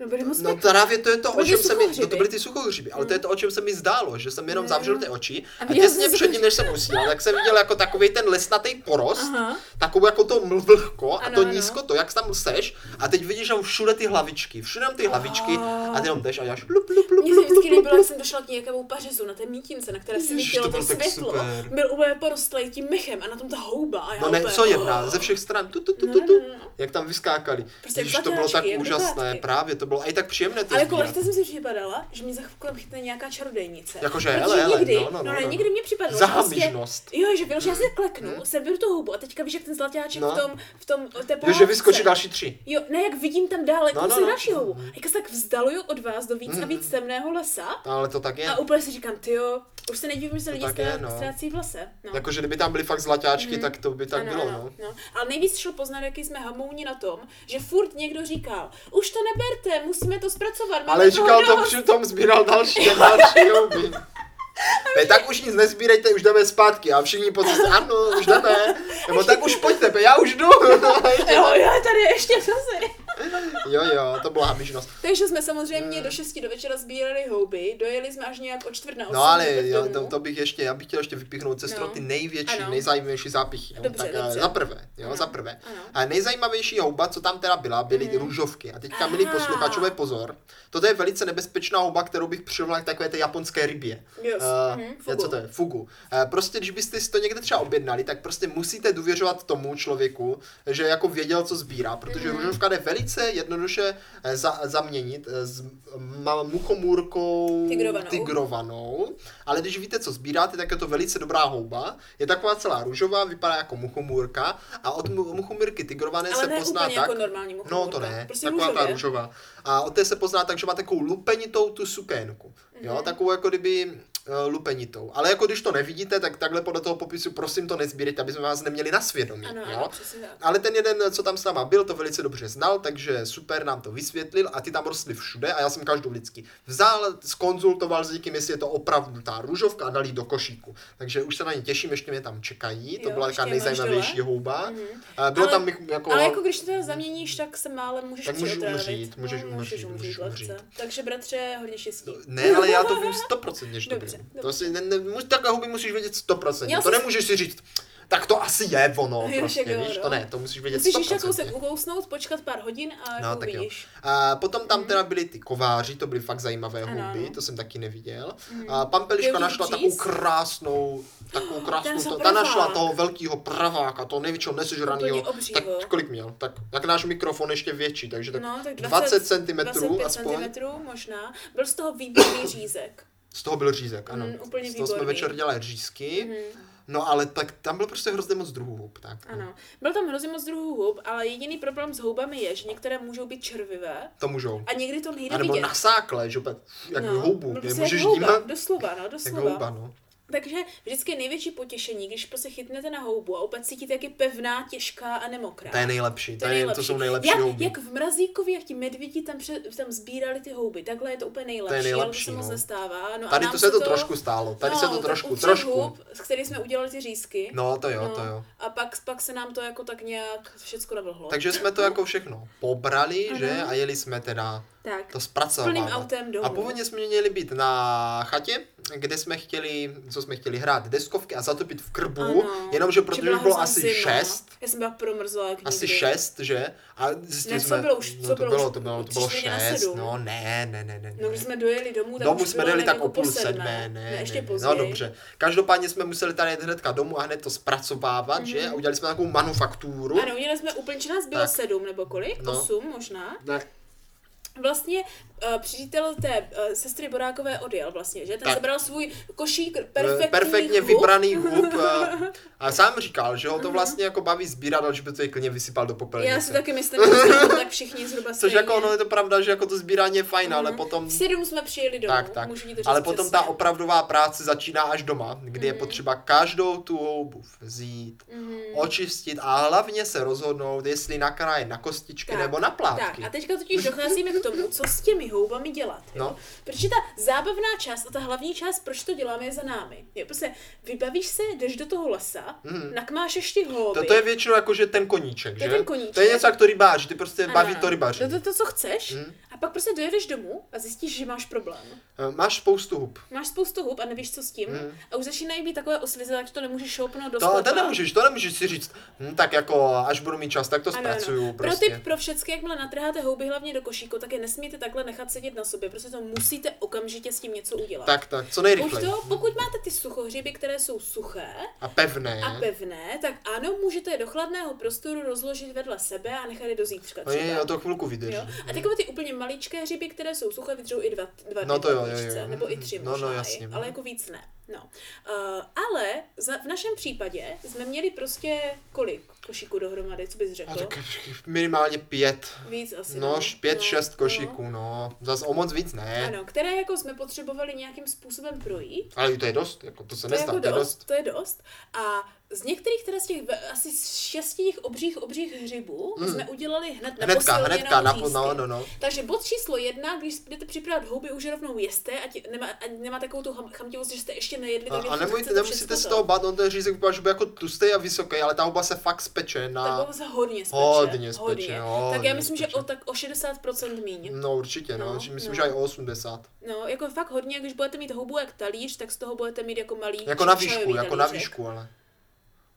Speaker 2: No, byli moc
Speaker 1: no
Speaker 2: no,
Speaker 1: právě to je to,
Speaker 2: To
Speaker 1: o
Speaker 2: byly
Speaker 1: čem se mi,
Speaker 2: suchohřiby.
Speaker 1: no, to byly ty suchohřiby, ale to je to, o čem se mi zdálo, že jsem jenom
Speaker 2: Jo,
Speaker 1: zavřel
Speaker 2: jo.
Speaker 1: ty oči
Speaker 2: A
Speaker 1: Mm. a,
Speaker 2: viděl
Speaker 1: těsně
Speaker 2: jsi
Speaker 1: předtím, než jsem usínal, tak jsem viděl jako takový ten lesnatý porost,
Speaker 2: Aha.
Speaker 1: takovou jako to mlvlhko a
Speaker 2: Ano,
Speaker 1: to
Speaker 2: ano.
Speaker 1: nízko, to jak tam seš a teď vidíš tam všude ty hlavičky, všude tam ty hlavičky a ty jenom jdeš a děláš lup, lup, lup,
Speaker 2: Mně se
Speaker 1: lup,
Speaker 2: vždycky
Speaker 1: lup, lup,
Speaker 2: líbilo, jak
Speaker 1: lup.
Speaker 2: jsem došla k nějakému pařizu na té mítince, na které
Speaker 1: Ježiš,
Speaker 2: svítilo
Speaker 1: to
Speaker 2: to,
Speaker 1: bylo tak
Speaker 2: světlo.
Speaker 1: super.
Speaker 2: Byl úplně porostlý tím mechem a na tom ta houba. A já
Speaker 1: No ne,
Speaker 2: úplně,
Speaker 1: co
Speaker 2: oh.
Speaker 1: jedna, ze všech stran, tu, tu, tu,
Speaker 2: No,
Speaker 1: tu,
Speaker 2: no,
Speaker 1: tu,
Speaker 2: no, no.
Speaker 1: jak tam vyskákali.
Speaker 2: Prostě jak
Speaker 1: Ježiš, to bylo
Speaker 2: zatáčky,
Speaker 1: tak
Speaker 2: jak
Speaker 1: úžasné,
Speaker 2: zatáčky.
Speaker 1: právě, to bylo a i tak příjemné to
Speaker 2: Ale jako
Speaker 1: sbírat.
Speaker 2: lehce jsem si připadala, že mě za chvilku chytne nějaká čarodejnice.
Speaker 1: Jakože,
Speaker 2: Protože
Speaker 1: hele, hele,
Speaker 2: nikdy,
Speaker 1: no, no, no,
Speaker 2: ne,
Speaker 1: no.
Speaker 2: nikdy mě připadalo,
Speaker 1: Zahamižnost.
Speaker 2: Jo, že vyloženě já se kleknu, seberu tu houbu a teďka víš, jak ten zlatáček
Speaker 1: No.
Speaker 2: v tom, v tom, té
Speaker 1: Jo,
Speaker 2: pohádce.
Speaker 1: že vyskočí další tři.
Speaker 2: Jo, ne, jak vidím tam dále,
Speaker 1: No,
Speaker 2: no,
Speaker 1: no,
Speaker 2: no,
Speaker 1: no.
Speaker 2: další houbu. Jak se tak vzdaluju od vás do víc a víc temného lesa
Speaker 1: Ale to tak je.
Speaker 2: a úplně si říkám, ty jo, už se nedivím, že se lidi
Speaker 1: tak je,
Speaker 2: ztrá-
Speaker 1: no.
Speaker 2: ztrácí v lese. No.
Speaker 1: Jakože kdyby tam byly fakt zlaťáčky, tak to by tak
Speaker 2: Mhm. Ano,
Speaker 1: bylo,
Speaker 2: ano,
Speaker 1: no.
Speaker 2: no. Ale nejvíc šlo poznat, jaký jsme hamouni na tom, že furt někdo říkal, už to neberte, musíme to zpracovat. máme
Speaker 1: Ale
Speaker 2: toho
Speaker 1: říkal
Speaker 2: dost.
Speaker 1: to, že tam sbíral další a další houby. Pe, tak už nic nezbírejte, už jdeme zpátky. A všichni po cestě, ano, už jdeme. Nebo tak už pojďte, pe, já už jdu.
Speaker 2: Jo, jo, tady ještě zase.
Speaker 1: jo, jo, to byla hamižnost.
Speaker 2: Takže jsme samozřejmě do 6 do večera sbírali houby, dojeli jsme až nějak o čtvrt na 8
Speaker 1: No ale jo, to, to, bych ještě, já bych chtěl ještě vypíchnout cestru
Speaker 2: No.
Speaker 1: ty největší,
Speaker 2: Ano.
Speaker 1: nejzajímavější zápichy. Jo.
Speaker 2: Dobře,
Speaker 1: tak eh,
Speaker 2: dobře.
Speaker 1: za prvé, jo,
Speaker 2: Ano.
Speaker 1: za prvé.
Speaker 2: Ano. Mhm.
Speaker 1: A nejzajímavější houba, co tam teda byla, byly ty růžovky. A teďka, milí
Speaker 2: Aha.
Speaker 1: posluchačové, pozor. Toto je velice nebezpečná houba, kterou bych přirovnal k takové té japonské rybě.
Speaker 2: Yes.
Speaker 1: Eh,
Speaker 2: Mhm,
Speaker 1: je-
Speaker 2: fugu.
Speaker 1: co to je? Fugu. Eh, prostě, když byste si to někde třeba objednali, tak prostě musíte důvěřovat tomu člověku, že jako věděl, co sbírá, protože
Speaker 2: Mhm.
Speaker 1: růžovka jde velice jednoduše eh, za, zaměnit eh, s ma- muchomůrkou
Speaker 2: Tigrovanou.
Speaker 1: tigrovanou. Ale když víte, co sbíráte, tak je to velice dobrá houba. Je taková celá růžová, vypadá jako muchomůrka a od mu- muchomůrky tigrované
Speaker 2: Ale
Speaker 1: se
Speaker 2: ne
Speaker 1: pozná
Speaker 2: úplně
Speaker 1: tak,
Speaker 2: jako normální
Speaker 1: No to
Speaker 2: muchomůrka,
Speaker 1: ne,
Speaker 2: prostě
Speaker 1: taková ta
Speaker 2: růžově.
Speaker 1: růžová. A od té se pozná tak, že má takovou lupenitou tu sukénku. Jo,
Speaker 2: Mhm.
Speaker 1: takovou jako kdyby eh, lupenitou. Ale jako když to nevidíte, tak takhle podle toho popisu prosím to nezbírejte, aby jsme vás neměli na svědomí.
Speaker 2: Ano,
Speaker 1: jo?
Speaker 2: ano, přesně tak.
Speaker 1: Ale ten jeden, co tam s náma byl, to velice dobře znal, takže super nám to vysvětlil a ty tam rostly všude a já jsem každou vždycky vzal, skonzultoval s někým, jestli je to opravdu ta růžovka a dal ji do košíku. Takže už se na ně těším, ještě mě tam čekají, to
Speaker 2: Jo,
Speaker 1: byla
Speaker 2: ještě
Speaker 1: taková
Speaker 2: je máš
Speaker 1: nejzajímavější
Speaker 2: dole.
Speaker 1: houba. A Bylo
Speaker 2: Ale-
Speaker 1: tam mich- jako...
Speaker 2: Ale jako když to teda zaměníš, tak se málem můžeš
Speaker 1: Tak můžeš
Speaker 2: přiotravit.
Speaker 1: umřít, můžeš umřít, můžeš
Speaker 2: lehce.
Speaker 1: umřít. No,
Speaker 2: Takže bratře, hodně štěstí.
Speaker 1: Ne, ale já to vím stoprocentně, že to
Speaker 2: Dobře,
Speaker 1: bylo. To
Speaker 2: dobře.
Speaker 1: si, ne, ne, mu- takhle huby musíš vědět stoprocentně. To
Speaker 2: Já jsem-
Speaker 1: nemůžeš si říct, tak to asi je ono,
Speaker 2: Jo,
Speaker 1: prostě,
Speaker 2: však jo,
Speaker 1: víš,
Speaker 2: no.
Speaker 1: to ne, to musíš vědět
Speaker 2: Musíš ještě kousek
Speaker 1: stoprocentně.
Speaker 2: ukousnout, počkat pár hodin a
Speaker 1: No,
Speaker 2: jako
Speaker 1: tak jo.
Speaker 2: uvidíš.
Speaker 1: A potom tam teda byly ty kováři, to byly fakt zajímavé
Speaker 2: Mhm. Ano,
Speaker 1: houby,
Speaker 2: ano. Mhm.
Speaker 1: to jsem taky neviděl. A Pampeliška
Speaker 2: Byl
Speaker 1: našla
Speaker 2: vůbec
Speaker 1: takovou
Speaker 2: říz?
Speaker 1: krásnou, takovou
Speaker 2: ten
Speaker 1: krásnou,
Speaker 2: za
Speaker 1: to, ta našla
Speaker 2: pravák.
Speaker 1: toho velkého praváka, toho největšího nesežraného.
Speaker 2: Úplně obřího.
Speaker 1: Tak kolik měl? Tak jak náš mikrofon ještě větší, takže tak,
Speaker 2: No, tak
Speaker 1: 20
Speaker 2: 20
Speaker 1: cm
Speaker 2: 25
Speaker 1: aspoň.
Speaker 2: centimetrů možná. Byl z toho výborný řízek.
Speaker 1: Z toho byl řízek, ano.
Speaker 2: Mm, úplně
Speaker 1: Z toho jsme
Speaker 2: výborný.
Speaker 1: večer dělali řízky.
Speaker 2: Mhm.
Speaker 1: No ale tak tam bylo prostě hrozně moc druhů hub, tak. no.
Speaker 2: Ano, byl tam hrozně moc druhů hub, ale jediný problém s houbami je, že některé můžou být červivé
Speaker 1: To můžou.
Speaker 2: a někdy to nejde
Speaker 1: A nebo
Speaker 2: vidět.
Speaker 1: nasáklé, že úplně, jak no, houbu,
Speaker 2: prostě
Speaker 1: kde
Speaker 2: jak
Speaker 1: můžeš
Speaker 2: houba,
Speaker 1: dímat.
Speaker 2: Doslova, no,
Speaker 1: Jak
Speaker 2: doslova.
Speaker 1: houba, no.
Speaker 2: Takže vždycky je největší potěšení, když prostě chytnete na houbu a opět cítíte, jak je pevná, těžká a nemokrá.
Speaker 1: To je nejlepší, to, je, to jsou nejlepší
Speaker 2: jak,
Speaker 1: houby.
Speaker 2: Jak v Mrazíkově, jak ti medvědi tam, před, tam sbírali ty houby, takhle je to úplně nejlepší, ale to
Speaker 1: nejlepší,
Speaker 2: se moc
Speaker 1: no.
Speaker 2: nestává. No
Speaker 1: Tady
Speaker 2: a nám
Speaker 1: to se to trošku stálo, tady
Speaker 2: no,
Speaker 1: se to
Speaker 2: tak u
Speaker 1: trošku,
Speaker 2: všech
Speaker 1: trošku.
Speaker 2: Hub, z kterých jsme udělali ty řízky.
Speaker 1: No, to jo, to jo.
Speaker 2: A pak, pak se nám to jako tak nějak všechno navlhlo.
Speaker 1: Takže jsme to jako všechno pobrali,
Speaker 2: Ano.
Speaker 1: že? A jeli jsme teda
Speaker 2: tak.
Speaker 1: to
Speaker 2: plným
Speaker 1: zpracovávat.
Speaker 2: autem domů.
Speaker 1: A původně jsme měli být na chatě, kde jsme chtěli, co jsme chtěli hrát, deskovky a zatopit v krbu,
Speaker 2: Ano.
Speaker 1: jenomže
Speaker 2: Že
Speaker 1: protože
Speaker 2: byla
Speaker 1: už bylo
Speaker 2: hrozná
Speaker 1: asi
Speaker 2: zima.
Speaker 1: šest,
Speaker 2: Já jsem byla promrzlá jak
Speaker 1: asi
Speaker 2: nikdy.
Speaker 1: šest, že? A zjistili
Speaker 2: Ne, co
Speaker 1: jsme,
Speaker 2: bylo už-
Speaker 1: no
Speaker 2: co
Speaker 1: to
Speaker 2: bylo
Speaker 1: bylo,
Speaker 2: už?
Speaker 1: to bylo, to
Speaker 2: Tři
Speaker 1: bylo
Speaker 2: čtvrtě na
Speaker 1: šest,
Speaker 2: sedm.
Speaker 1: no ne, ne, ne, ne.
Speaker 2: No,
Speaker 1: ne.
Speaker 2: když jsme dojeli domů, tak
Speaker 1: Domů
Speaker 2: už
Speaker 1: jsme
Speaker 2: bylo
Speaker 1: dali tak
Speaker 2: nějak
Speaker 1: o
Speaker 2: jako
Speaker 1: půl sedmé, ne,
Speaker 2: ne,
Speaker 1: ne,
Speaker 2: ještě
Speaker 1: ne.
Speaker 2: později.
Speaker 1: no dobře. Každopádně jsme museli tady jet hnedka domů a hned to zpracovávat, že? A udělali jsme takovou manufakturu.
Speaker 2: Mhm. Ano, udělali jsme úplně, že nás bylo
Speaker 1: Tak.
Speaker 2: sedm nebo kolik?
Speaker 1: No.
Speaker 2: Osm možná.
Speaker 1: Ne,
Speaker 2: Vlastně uh, přítel té uh, sestry Borákové odjel vlastně, že? Ten
Speaker 1: Tak.
Speaker 2: sebral svůj košík
Speaker 1: perfektně,
Speaker 2: perfektní
Speaker 1: perfektně
Speaker 2: hub.
Speaker 1: vybraný hub. eh, A sám říkal, že ho to vlastně jako baví sbírat, ale že by to je klidně vysypal do popelnice.
Speaker 2: Já si taky myslím, že jsme to tak všichni zhruba
Speaker 1: Což
Speaker 2: stejně.
Speaker 1: jako ono je to pravda, že jako to sbírání je fajn, ale potom...
Speaker 2: V sedm jsme přijeli domů,
Speaker 1: Tak, tak.
Speaker 2: můžu ti to říct
Speaker 1: Ale potom
Speaker 2: přesně. Mhm.
Speaker 1: ta opravdová práce začíná až doma, kdy je potřeba každou tu houbu vzít, očistit a hlavně se rozhodnout, jestli nakráje na kostičky
Speaker 2: Tak,
Speaker 1: nebo na plátky.
Speaker 2: Tak, a teďka totiž docházíme k tomu, co s těmi houbami dělat. Jo?
Speaker 1: No.
Speaker 2: Protože ta zábavná část a ta hlavní část, proč to děláme, je za námi. Jo? Prostě vybavíš se, jdeš do toho lesa, mm. nakmáš ještě houby.
Speaker 1: To, to Mhm. je většinou jako, že ten koníček,
Speaker 2: To
Speaker 1: že?
Speaker 2: je ten koníček.
Speaker 1: To je něco jak to rybář, ty prostě
Speaker 2: Ano,
Speaker 1: baví
Speaker 2: ano. No
Speaker 1: to rybaři.
Speaker 2: To, to, to, co chceš,
Speaker 1: Mm.
Speaker 2: a pak prostě dojedeš domů a zjistíš, že máš problém.
Speaker 1: Eh, Máš spoustu hub.
Speaker 2: Máš spoustu hub a nevíš, co s tím. A už začínají být takové osvize, takže to nemůžeš šoupnout do
Speaker 1: Mhm. To,
Speaker 2: sklepa.
Speaker 1: to nemůžeš, to nemůžeš si říct, hm, tak jako až budu mít čas, tak to zpracuju prostě.
Speaker 2: Pro tip pro všechny, jakmile natrháte houby hlavně do košíku, tak je nesmíte takhle nechat sedět na sobě, protože to musíte okamžitě s tím něco udělat.
Speaker 1: Tak, tak, co
Speaker 2: Buď
Speaker 1: nejrychleji. Hm,
Speaker 2: to, pokud máte ty suchohříby, které jsou suché
Speaker 1: A pevné.
Speaker 2: a pevné, tak ano, můžete je do chladného prostoru rozložit vedle sebe a nechat je do zítřka
Speaker 1: No je, no.
Speaker 2: třeba.
Speaker 1: jo, to chvilku vydrží. Hm.
Speaker 2: Jo? A takové ty úplně maličké hříby, které jsou suché, vydržou i dva, dva
Speaker 1: No
Speaker 2: dny
Speaker 1: to jo,
Speaker 2: po
Speaker 1: jo,
Speaker 2: výšce,
Speaker 1: jo.
Speaker 2: nebo i tři
Speaker 1: No, no,
Speaker 2: možná, i,
Speaker 1: jasně.
Speaker 2: ale jako víc ne. No. Uh, ale za, v našem případě jsme měli prostě kolik košíků dohromady, co bys řekl?
Speaker 1: A tak minimálně pět.
Speaker 2: Víc asi.
Speaker 1: No, š- pět,
Speaker 2: No,
Speaker 1: šest
Speaker 2: no.
Speaker 1: košíků, no. Zas o moc víc ne.
Speaker 2: Ano, které jako jsme potřebovali nějakým způsobem projít.
Speaker 1: Ale to je dost, jako to se
Speaker 2: To je,
Speaker 1: nestá,
Speaker 2: jako
Speaker 1: to je
Speaker 2: dost,
Speaker 1: dost.
Speaker 2: to je dost. A z některých teda z těch ve- asi z šesti těch obřích, obřích hřibů
Speaker 1: Mm.
Speaker 2: jsme udělali hned na
Speaker 1: Hnedka,
Speaker 2: posilněnou
Speaker 1: hnedka, na,
Speaker 2: řízky.
Speaker 1: no, no, no.
Speaker 2: Takže bod číslo jedna, když jdete připravovat houby, už rovnou jeste, ať nemá, ať nemá takovou tu cham- chamtivost, že jste ještě nejedli.
Speaker 1: A,
Speaker 2: takže
Speaker 1: a
Speaker 2: chcete
Speaker 1: nebojte,
Speaker 2: to
Speaker 1: nemusíte
Speaker 2: všechno
Speaker 1: se
Speaker 2: to.
Speaker 1: toho bát, on ten řízek vypadá, že bude jako tlustý a vysoký, ale ta huba se fakt speče
Speaker 2: Tak
Speaker 1: na...
Speaker 2: bylo se hodně speče.
Speaker 1: Hodně speče, hodně
Speaker 2: Tak já myslím, že
Speaker 1: speče.
Speaker 2: o, tak o 60% míň.
Speaker 1: No určitě, no,
Speaker 2: No,
Speaker 1: že myslím,
Speaker 2: no.
Speaker 1: že aj o 80.
Speaker 2: No, jako fakt hodně, když budete mít houbu jak talíř, tak z toho budete mít jako malý
Speaker 1: Jako na výšku,
Speaker 2: čajový
Speaker 1: jako na
Speaker 2: talířek.
Speaker 1: výšku, ale.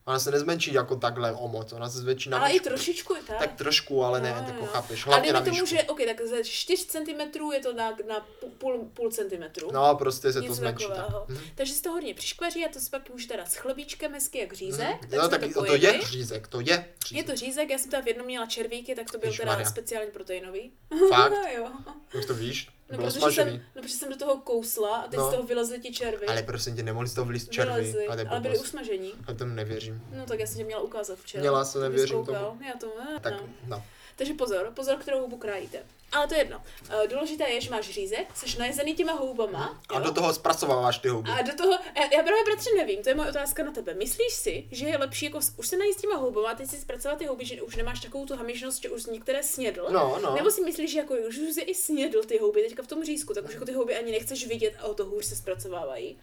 Speaker 1: Ona se nezmenší jako takhle o moc, ona se zvětší na
Speaker 2: Ale i
Speaker 1: výšku.
Speaker 2: trošičku i tak.
Speaker 1: Tak trošku, ale ne,
Speaker 2: No,
Speaker 1: jako
Speaker 2: no.
Speaker 1: chápeš,
Speaker 2: A
Speaker 1: hlavně na
Speaker 2: dejme tomu,
Speaker 1: výšku.
Speaker 2: že, ok, tak ze 4 cm je to na, na pů- půl, půl centimetru.
Speaker 1: No, prostě se to
Speaker 2: Něco
Speaker 1: zmenší. tak. Mhm.
Speaker 2: takového. Takže se to hodně přiškveří a to si pak můžete dát s chlebíčkem hezky jak řízek.
Speaker 1: No, tak
Speaker 2: jsme
Speaker 1: to, to je řízek, to je
Speaker 2: Je
Speaker 1: řízek.
Speaker 2: to řízek, já jsem tam v jednom měla červíky, tak to byl teda
Speaker 1: Ježišmarja.
Speaker 2: speciálně proteinový.
Speaker 1: Fakt,
Speaker 2: No jo.
Speaker 1: jak to víš?
Speaker 2: No,
Speaker 1: Bylo
Speaker 2: protože jsem,
Speaker 1: smažený.
Speaker 2: no, protože jsem do toho kousla a teď
Speaker 1: No.
Speaker 2: z toho vylezly ti červy.
Speaker 1: Ale prosím tě, nemohli z toho vylít červy.
Speaker 2: Vylezly,
Speaker 1: A to je
Speaker 2: ale byly
Speaker 1: blbost.
Speaker 2: usmažení.
Speaker 1: Já tomu nevěřím.
Speaker 2: No tak já jsem tě měla ukázat včera.
Speaker 1: Měla, se
Speaker 2: Ty bys
Speaker 1: nevěřím
Speaker 2: koukal.
Speaker 1: tomu.
Speaker 2: Já to, no.
Speaker 1: Tak, no.
Speaker 2: Takže pozor, pozor, kterou houbu krájíte. Ale to je jedno. Eh, Důležité je, že máš řízek, jsi najezený těma houbama.
Speaker 1: Mhm. A
Speaker 2: jo?
Speaker 1: do toho zpracováváš ty houby.
Speaker 2: a do toho, já, já právě bratře nevím, to je moje otázka na tebe. Myslíš si, že je lepší jako s- už se najíst těma houbama a teď si zpracovat ty houby, že už nemáš takovou tu hamižnost, že už některé snědl?
Speaker 1: No, no.
Speaker 2: Nebo si myslíš, že jako už jsi i snědl ty houby teďka v tom řízku, tak už jako ty houby ani nechceš vidět a o to hůř se zpracovávají.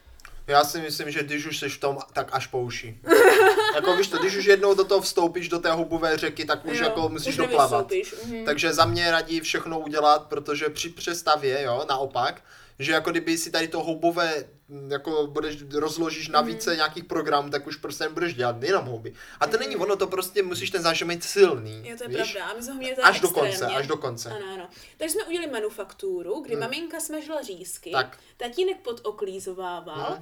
Speaker 1: Já si myslím, že když už jsi v tom, tak až po uši. jako víš to, když už jednou do toho vstoupíš, do té houbové řeky, tak už
Speaker 2: Jo,
Speaker 1: jako musíš
Speaker 2: už
Speaker 1: doplavat.
Speaker 2: nevystoupíš, mhm.
Speaker 1: Takže za mě radí všechno udělat, protože při přestavě, jo, naopak, že jako kdyby si tady to houbové mm, jako budeš, rozložíš
Speaker 2: Mhm.
Speaker 1: na více nějakých programů, tak už prostě nebudeš dělat jenom houby. A to není ono, to prostě musíš ten zážitek mít silný.
Speaker 2: Mhm. Jo, to je
Speaker 1: víš?
Speaker 2: pravda. A my jsme ho měli teda
Speaker 1: Až do konce,
Speaker 2: extrémně.
Speaker 1: až do konce. Mhm.
Speaker 2: Ano, ano. Takže jsme udělali manufakturu, kdy maminka smažila řízky,
Speaker 1: Tak. Mhm.
Speaker 2: tatínek podoklízovával,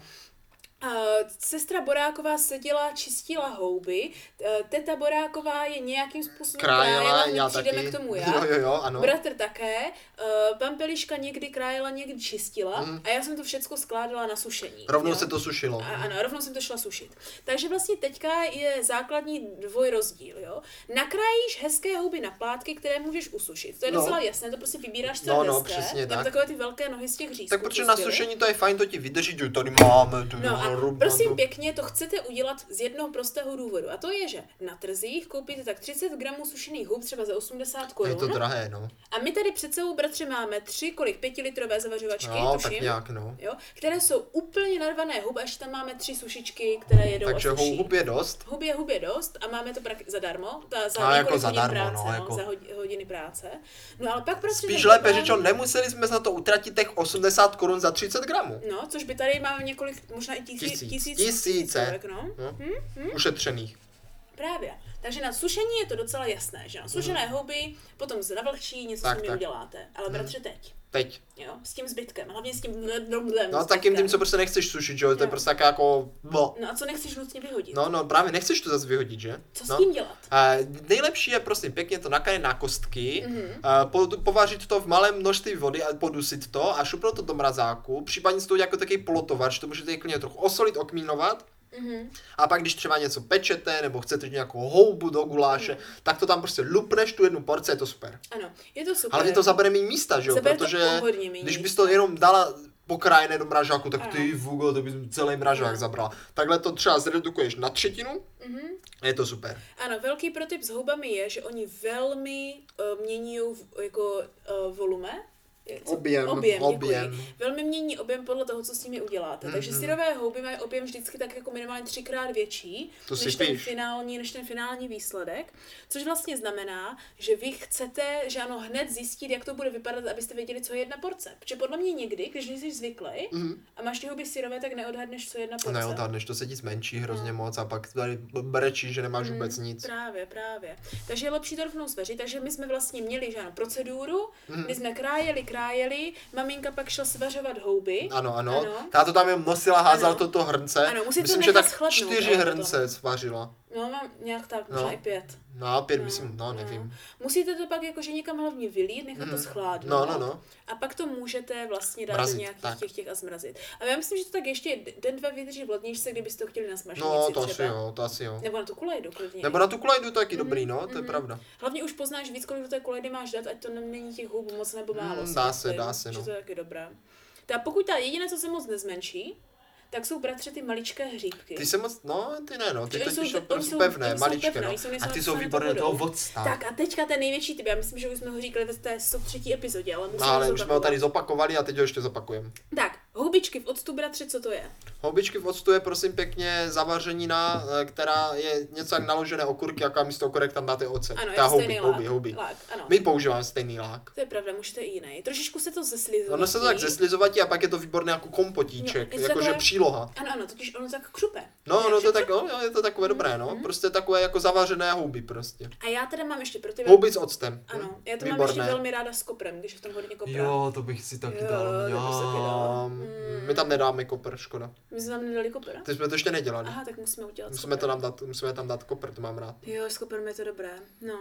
Speaker 2: Uh, sestra Boráková seděla, čistila houby, eh, teta Boráková je nějakým způsobem
Speaker 1: Krájela,
Speaker 2: krájela, my
Speaker 1: já
Speaker 2: přijdeme
Speaker 1: taky.
Speaker 2: k tomu já.
Speaker 1: Jo, no. jo, jo, ano.
Speaker 2: Bratr také, uh, pampeliška někdy krájela, někdy čistila a já jsem to všechno skládala na sušení.
Speaker 1: Mhm. Rovnou
Speaker 2: jo.
Speaker 1: se to sušilo.
Speaker 2: A, ano, rovnou jsem to šla sušit. Takže vlastně teďka je základní dvoj rozdíl, jo. Nakrájíš hezké houby na plátky, které můžeš usušit. To je
Speaker 1: No.
Speaker 2: docela jasné, to prostě vybíráš, co
Speaker 1: No,
Speaker 2: je
Speaker 1: no,
Speaker 2: hezké.
Speaker 1: přesně
Speaker 2: Nebo
Speaker 1: tak.
Speaker 2: takové ty velké nohy z těch řízků.
Speaker 1: Tak protože
Speaker 2: co
Speaker 1: na
Speaker 2: zbyly.
Speaker 1: sušení to je fajn, to ti vydrží, že tady máme, tu
Speaker 2: No a
Speaker 1: rubu,
Speaker 2: prosím
Speaker 1: tu-
Speaker 2: pěkně, to chcete udělat z jednoho prostého důvodu. A to je, že na trzích koupíte tak 30 gramů sušených hub třeba za 80
Speaker 1: Je to
Speaker 2: korun.
Speaker 1: drahé, no.
Speaker 2: A my tady před sebou, bratře, máme tři, kolik, pětilitrové zavařovačky,
Speaker 1: No, tak
Speaker 2: tuším.
Speaker 1: nějak, no.
Speaker 2: Jo, které jsou úplně narvané hub, až tam máme tři sušičky, které jedou
Speaker 1: Takže
Speaker 2: a suší.
Speaker 1: hub je dost.
Speaker 2: Hubě, hubě dost a máme to prak- zadarmo, ta za
Speaker 1: No,
Speaker 2: několik
Speaker 1: jako
Speaker 2: hodin
Speaker 1: zadarmo,
Speaker 2: práce,
Speaker 1: no,
Speaker 2: no,
Speaker 1: jako-
Speaker 2: za hodi- hodiny práce. No ale pak prostě...
Speaker 1: Spíš
Speaker 2: ten
Speaker 1: lépe
Speaker 2: globální-
Speaker 1: řečeno, nemuseli jsme za to utratit těch 80 korun za 30 gramů.
Speaker 2: No, což by tady máme několik, možná i tisíc,
Speaker 1: Tisíc.
Speaker 2: tisíc,
Speaker 1: Tisíce.
Speaker 2: tisícovek, no.
Speaker 1: No. Ušetřených.
Speaker 2: Právě. Takže na sušení je to docela jasné, že na sušené houby, potom se navlhčí,
Speaker 1: Mhm.
Speaker 2: něco
Speaker 1: Tak, Mhm.
Speaker 2: s nimi
Speaker 1: tak.
Speaker 2: uděláte. Ale bratře teď,
Speaker 1: Teď.
Speaker 2: jo, s tím zbytkem, hlavně s tím drobným
Speaker 1: No takým tím, co prostě nechceš sušit, že jo? To je
Speaker 2: No.
Speaker 1: prostě taká jako... No.
Speaker 2: No a co nechceš nutně vyhodit?
Speaker 1: no, no, právě nechceš to zase vyhodit, že?
Speaker 2: Co s
Speaker 1: no.
Speaker 2: tím dělat?
Speaker 1: A nejlepší je prostě pěkně to nakrájet na kostky,
Speaker 2: Mhm.
Speaker 1: a po, povařit to v malém množství vody a podusit to a šupnout to do mrazáku, případně z toho jako takový polotovač, to můžete i klidně trochu osolit, okmínovat.
Speaker 2: Mhm.
Speaker 1: A pak, když třeba něco pečete nebo chcete nějakou houbu do guláše,
Speaker 2: Mhm.
Speaker 1: tak to tam prostě lupneš tu jednu porci, je to super.
Speaker 2: Ano, je to super.
Speaker 1: Ale mě to zabere méně místa, že jo?
Speaker 2: Zabere to
Speaker 1: Protože
Speaker 2: o hodně méně
Speaker 1: když bys
Speaker 2: místa.
Speaker 1: to jenom dala pokrajené do mražáku, tak
Speaker 2: Ano.
Speaker 1: ty vugo, to bys celý mražák
Speaker 2: Ano.
Speaker 1: zabrala. Takhle to třeba zredukuješ na třetinu
Speaker 2: Mhm.
Speaker 1: a je to super.
Speaker 2: Ano, velký protip s houbami je, že oni velmi uh, mění jako uh, volume. Je- co-
Speaker 1: Objem,
Speaker 2: objem,
Speaker 1: objem.
Speaker 2: objem. Velmi mění objem podle toho, co s nimi uděláte. Takže
Speaker 1: Mhm.
Speaker 2: syrové houby mají objem vždycky tak jako minimálně třikrát větší
Speaker 1: To si
Speaker 2: než, ten
Speaker 1: píš.
Speaker 2: finální, než ten finální výsledek. Což vlastně znamená, že vy chcete, že ano, hned zjistit, jak to bude vypadat, abyste věděli, co je jedna porce. Protože podle mě někdy, když nejsi zvyklý
Speaker 1: Mhm.
Speaker 2: a máš ty houby syrové, tak neodhadneš, co je jedna porce.
Speaker 1: Ne, odhadneš, to se ti zmenší hrozně
Speaker 2: Hmm.
Speaker 1: moc a pak tady brečíš, že nemáš vůbec nic.
Speaker 2: Právě, právě. Takže je lepší to rovnou sveřit. Takže my jsme vlastně měli že ano, proceduru, mm.
Speaker 1: Hmm.
Speaker 2: kdy jsme krájeli, krájeli, maminka pak šla svařovat houby.
Speaker 1: Ano, ano.
Speaker 2: Ano.
Speaker 1: Táto tam je nosila, házela
Speaker 2: Ano.
Speaker 1: toto hrnce.
Speaker 2: Ano, musí to
Speaker 1: Myslím, že
Speaker 2: nechat
Speaker 1: tak
Speaker 2: schladnout,
Speaker 1: čtyři
Speaker 2: jo, jako
Speaker 1: hrnce svařila.
Speaker 2: No, mám nějak tak, možná
Speaker 1: No.
Speaker 2: i pět.
Speaker 1: No, pět,
Speaker 2: No,
Speaker 1: myslím, no,
Speaker 2: no.
Speaker 1: nevím.
Speaker 2: Musíte to pak jakože někam hlavně vylít, nechat to
Speaker 1: Mm.
Speaker 2: schládnout.
Speaker 1: No, no, no.
Speaker 2: A pak to můžete vlastně dát do
Speaker 1: Mrazit,
Speaker 2: nějakých
Speaker 1: tak.
Speaker 2: těch těch a zmrazit. A já myslím, že to tak ještě den, dva vydrží v ledničce, kdybyste to chtěli na smaženici
Speaker 1: No, to asi
Speaker 2: třeba.
Speaker 1: jo, to asi jo.
Speaker 2: Nebo Mhm, na tu kulejdu klidně.
Speaker 1: Nebo na tu kulajdu taky dobrý, no, to je pravda.
Speaker 2: Hlavně už poznáš víc, kolik do té kulejdy máš dát, ať to nem- není těch hub moc nebo
Speaker 1: Mm,
Speaker 2: málo. si
Speaker 1: dá
Speaker 2: myslím,
Speaker 1: se, dá se,
Speaker 2: že
Speaker 1: no.
Speaker 2: to je taky dobré. Ta, pokud ta jediné, co se moc nezmenší, tak jsou bratře ty maličké hříbky.
Speaker 1: Ty se moc, no, ty ne, no, ty
Speaker 2: Že
Speaker 1: to
Speaker 2: oni
Speaker 1: jsou,
Speaker 2: jsou- oni
Speaker 1: prostě
Speaker 2: jsou-
Speaker 1: pevné,
Speaker 2: oni jsou
Speaker 1: maličké,
Speaker 2: pevné,
Speaker 1: no.
Speaker 2: oni jsou- nejsou
Speaker 1: A ty
Speaker 2: napsané
Speaker 1: jsou
Speaker 2: tou
Speaker 1: výborné do
Speaker 2: vodou.
Speaker 1: ovocta.
Speaker 2: Tak a teďka ten největší typ, já myslím, že už jsme ho říkali ve té 103. epizodě, ale musíme
Speaker 1: No, ale
Speaker 2: ho
Speaker 1: už jsme ho tady
Speaker 2: zopakovat.
Speaker 1: zopakovali a teď ho ještě zopakujeme.
Speaker 2: Tak, houbičky v octu, bratře, co to je?
Speaker 1: Houbičky v octu je prosím pěkně zavařenina, eh, která je něco jak naložené okurky, jaká místo okurek tam dáte ocet.
Speaker 2: Ano, je
Speaker 1: Ta
Speaker 2: to
Speaker 1: houby,
Speaker 2: stejný
Speaker 1: houby,
Speaker 2: lák.
Speaker 1: houby.
Speaker 2: lák. ano.
Speaker 1: My používáme stejný lák.
Speaker 2: To je pravda, můžete i jiný. Trošičku se to zeslizuje.
Speaker 1: Ono se to tak zeslizovatí a pak je to výborné jako kompotíček,
Speaker 2: No, je to
Speaker 1: jakože
Speaker 2: takové-
Speaker 1: příloha.
Speaker 2: Ano, ano, totiž ono tak křupe.
Speaker 1: No, no,
Speaker 2: Takže
Speaker 1: to je tak, no, jo, je to takové dobré,
Speaker 2: Mhm.
Speaker 1: no. Prostě takové jako zavařené houby prostě.
Speaker 2: A já teda mám ještě pro tebe...
Speaker 1: Houby s octem.
Speaker 2: Ano, já to mám
Speaker 1: Výborné.
Speaker 2: ještě velmi ráda s koprem, když je v tom hodně kopra.
Speaker 1: Jo, to bych si taky
Speaker 2: Jo,
Speaker 1: dal.
Speaker 2: to bych si taky Mm. dala.
Speaker 1: Mňam. My tam nedáme kopr, škoda.
Speaker 2: My jsme tam nedali kopra?
Speaker 1: Ty jsme to ještě nedělali.
Speaker 2: Aha, tak musíme udělat
Speaker 1: Musíme,
Speaker 2: s
Speaker 1: to
Speaker 2: koprem.
Speaker 1: tam dát, musíme tam dát kopr, to mám rád.
Speaker 2: Jo, s koprem je to dobré. No.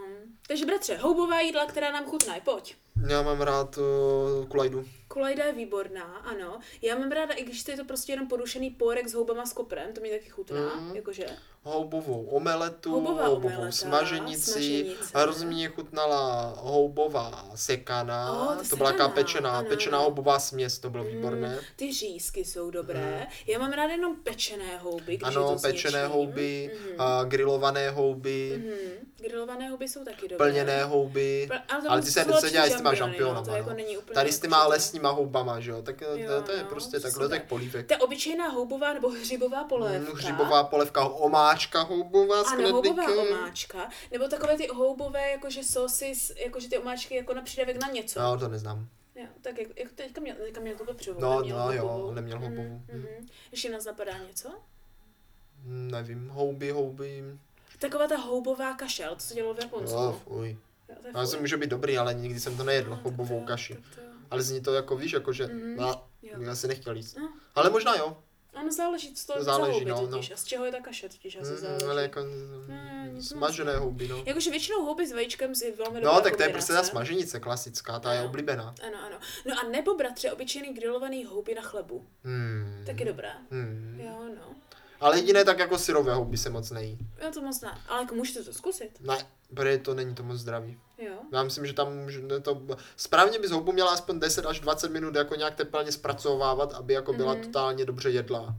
Speaker 2: Takže bratře, houbová jídla, která nám chutnají, pojď.
Speaker 1: Já mám rád uh, kulajdu.
Speaker 2: Kulajda je výborná, ano. Já mám ráda, i když to je to prostě jenom porušený pórek s houbama s koprem, to mi taky chutná,
Speaker 1: Mm.
Speaker 2: jakože.
Speaker 1: Houbovou omeletu,
Speaker 2: Houbová
Speaker 1: houbovou
Speaker 2: omeleta,
Speaker 1: smaženici,
Speaker 2: smaženice.
Speaker 1: hrozně mě chutnala houbová sekaná,
Speaker 2: O, to
Speaker 1: to, byla
Speaker 2: sekaná,
Speaker 1: taková pečená,
Speaker 2: ano.
Speaker 1: pečená houbová směs, to bylo výborné. Mhm.
Speaker 2: Mm, ty řízky jsou dobré. Já mám ráda jenom pečené houby, když je
Speaker 1: ano,
Speaker 2: to s
Speaker 1: pečené
Speaker 2: něčím.
Speaker 1: houby,
Speaker 2: Mhm.
Speaker 1: a grilované houby,
Speaker 2: Mhm. Grilované houby jsou taky dobré.
Speaker 1: plněné houby,
Speaker 2: Pl- ale to
Speaker 1: ale
Speaker 2: jsou
Speaker 1: ty se nesedějí s těma
Speaker 2: žampiony, no,
Speaker 1: šampionama.
Speaker 2: to jako není úplně
Speaker 1: Tady s těma
Speaker 2: určitě.
Speaker 1: lesníma houbama, že jo, tak to,
Speaker 2: Jo,
Speaker 1: to je
Speaker 2: no,
Speaker 1: prostě
Speaker 2: to
Speaker 1: takhle,
Speaker 2: super.
Speaker 1: tak polívek.
Speaker 2: Ta obyčejná houbová nebo hřibová polévka.
Speaker 1: Mm, Hřibová polévka, omáčka houbová s
Speaker 2: Ano, houbová
Speaker 1: knedlíkem.
Speaker 2: omáčka, nebo takové ty houbové, jakože sosy, s- jakože ty omáčky jako na přídavek na něco.
Speaker 1: No, to neznám.
Speaker 2: Jo, tak jak, jak teďka mě, teďka mě to přivol,
Speaker 1: No, no jo, neměl houbovou.
Speaker 2: Mm-hmm. Ještě nás napadá něco?
Speaker 1: Mm, Nevím, houby, houby.
Speaker 2: Taková ta houbová kašel, to se dělalo v Japonsku.
Speaker 1: Jo, fuj.
Speaker 2: Jo, to je
Speaker 1: No, asi
Speaker 2: furt.
Speaker 1: může být dobrý, ale nikdy jsem to nejedl,
Speaker 2: No, tak to
Speaker 1: houbovou
Speaker 2: jo,
Speaker 1: kaši.
Speaker 2: tak to jo.
Speaker 1: Ale zní to jako, víš, jako že...
Speaker 2: Mhm.
Speaker 1: No,
Speaker 2: Jo.
Speaker 1: já si nechtěl jíst.
Speaker 2: No.
Speaker 1: Ale možná jo.
Speaker 2: Ano, záleží, co to je
Speaker 1: Záleží,
Speaker 2: záleží, za
Speaker 1: no,
Speaker 2: houby
Speaker 1: no.
Speaker 2: totiž. A z čeho je ta kaše totiž asi záleží.
Speaker 1: Mm, ale jako
Speaker 2: Ne, nic
Speaker 1: smažené houby, no.
Speaker 2: Jakože většinou houby s vajíčkem je velmi dobrá
Speaker 1: No, tak to je prostě ta
Speaker 2: kombinace.
Speaker 1: smaženice klasická, ta je
Speaker 2: Ano.
Speaker 1: oblíbená.
Speaker 2: Ano, ano. No a nebo bratře, obyčejný grilovaný houby na chlebu.
Speaker 1: Hmm.
Speaker 2: Taky dobrá.
Speaker 1: Hmm.
Speaker 2: Jo, no.
Speaker 1: Ale jediné tak jako syrové houby se moc nejí.
Speaker 2: Já to moc ne. Ale jako můžete to zkusit.
Speaker 1: Ne, protože to není to moc zdravý.
Speaker 2: Jo.
Speaker 1: Já myslím, že tam můžeme to... Správně bys houbu měla aspoň 10 až 20 minut jako nějak tepelně zpracovávat, aby jako byla
Speaker 2: Mhm.
Speaker 1: totálně dobře jedlá.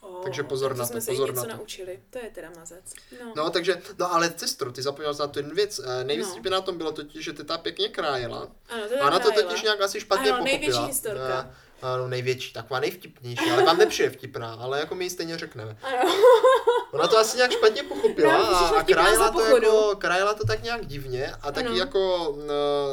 Speaker 2: O,
Speaker 1: Takže pozor
Speaker 2: tak
Speaker 1: na
Speaker 2: jsme
Speaker 1: to,
Speaker 2: se i
Speaker 1: pozor
Speaker 2: něco
Speaker 1: na to.
Speaker 2: naučili. To je teda mazec. No.
Speaker 1: No, takže, no ale cestro, ty zapomněl na tu jednu věc. Eh, Nejvíc
Speaker 2: No.
Speaker 1: no. na tom bylo totiž, že teta pěkně krájela.
Speaker 2: Ano, to je
Speaker 1: A ona to
Speaker 2: Dajla.
Speaker 1: totiž nějak asi špatně
Speaker 2: Ano,
Speaker 1: pochopila.
Speaker 2: největší historka.
Speaker 1: Eh, Ano, největší, taková nejvtipnější, ale vám nepřijde vtipná, ale jako my ji stejně řekneme.
Speaker 2: Ano.
Speaker 1: Ona to asi nějak špatně pochopila
Speaker 2: Nám přišla
Speaker 1: a, a
Speaker 2: No, vtipná
Speaker 1: krájela,
Speaker 2: za
Speaker 1: to
Speaker 2: pochodu.
Speaker 1: jako, krájela to tak nějak divně a taky
Speaker 2: Ano.
Speaker 1: jako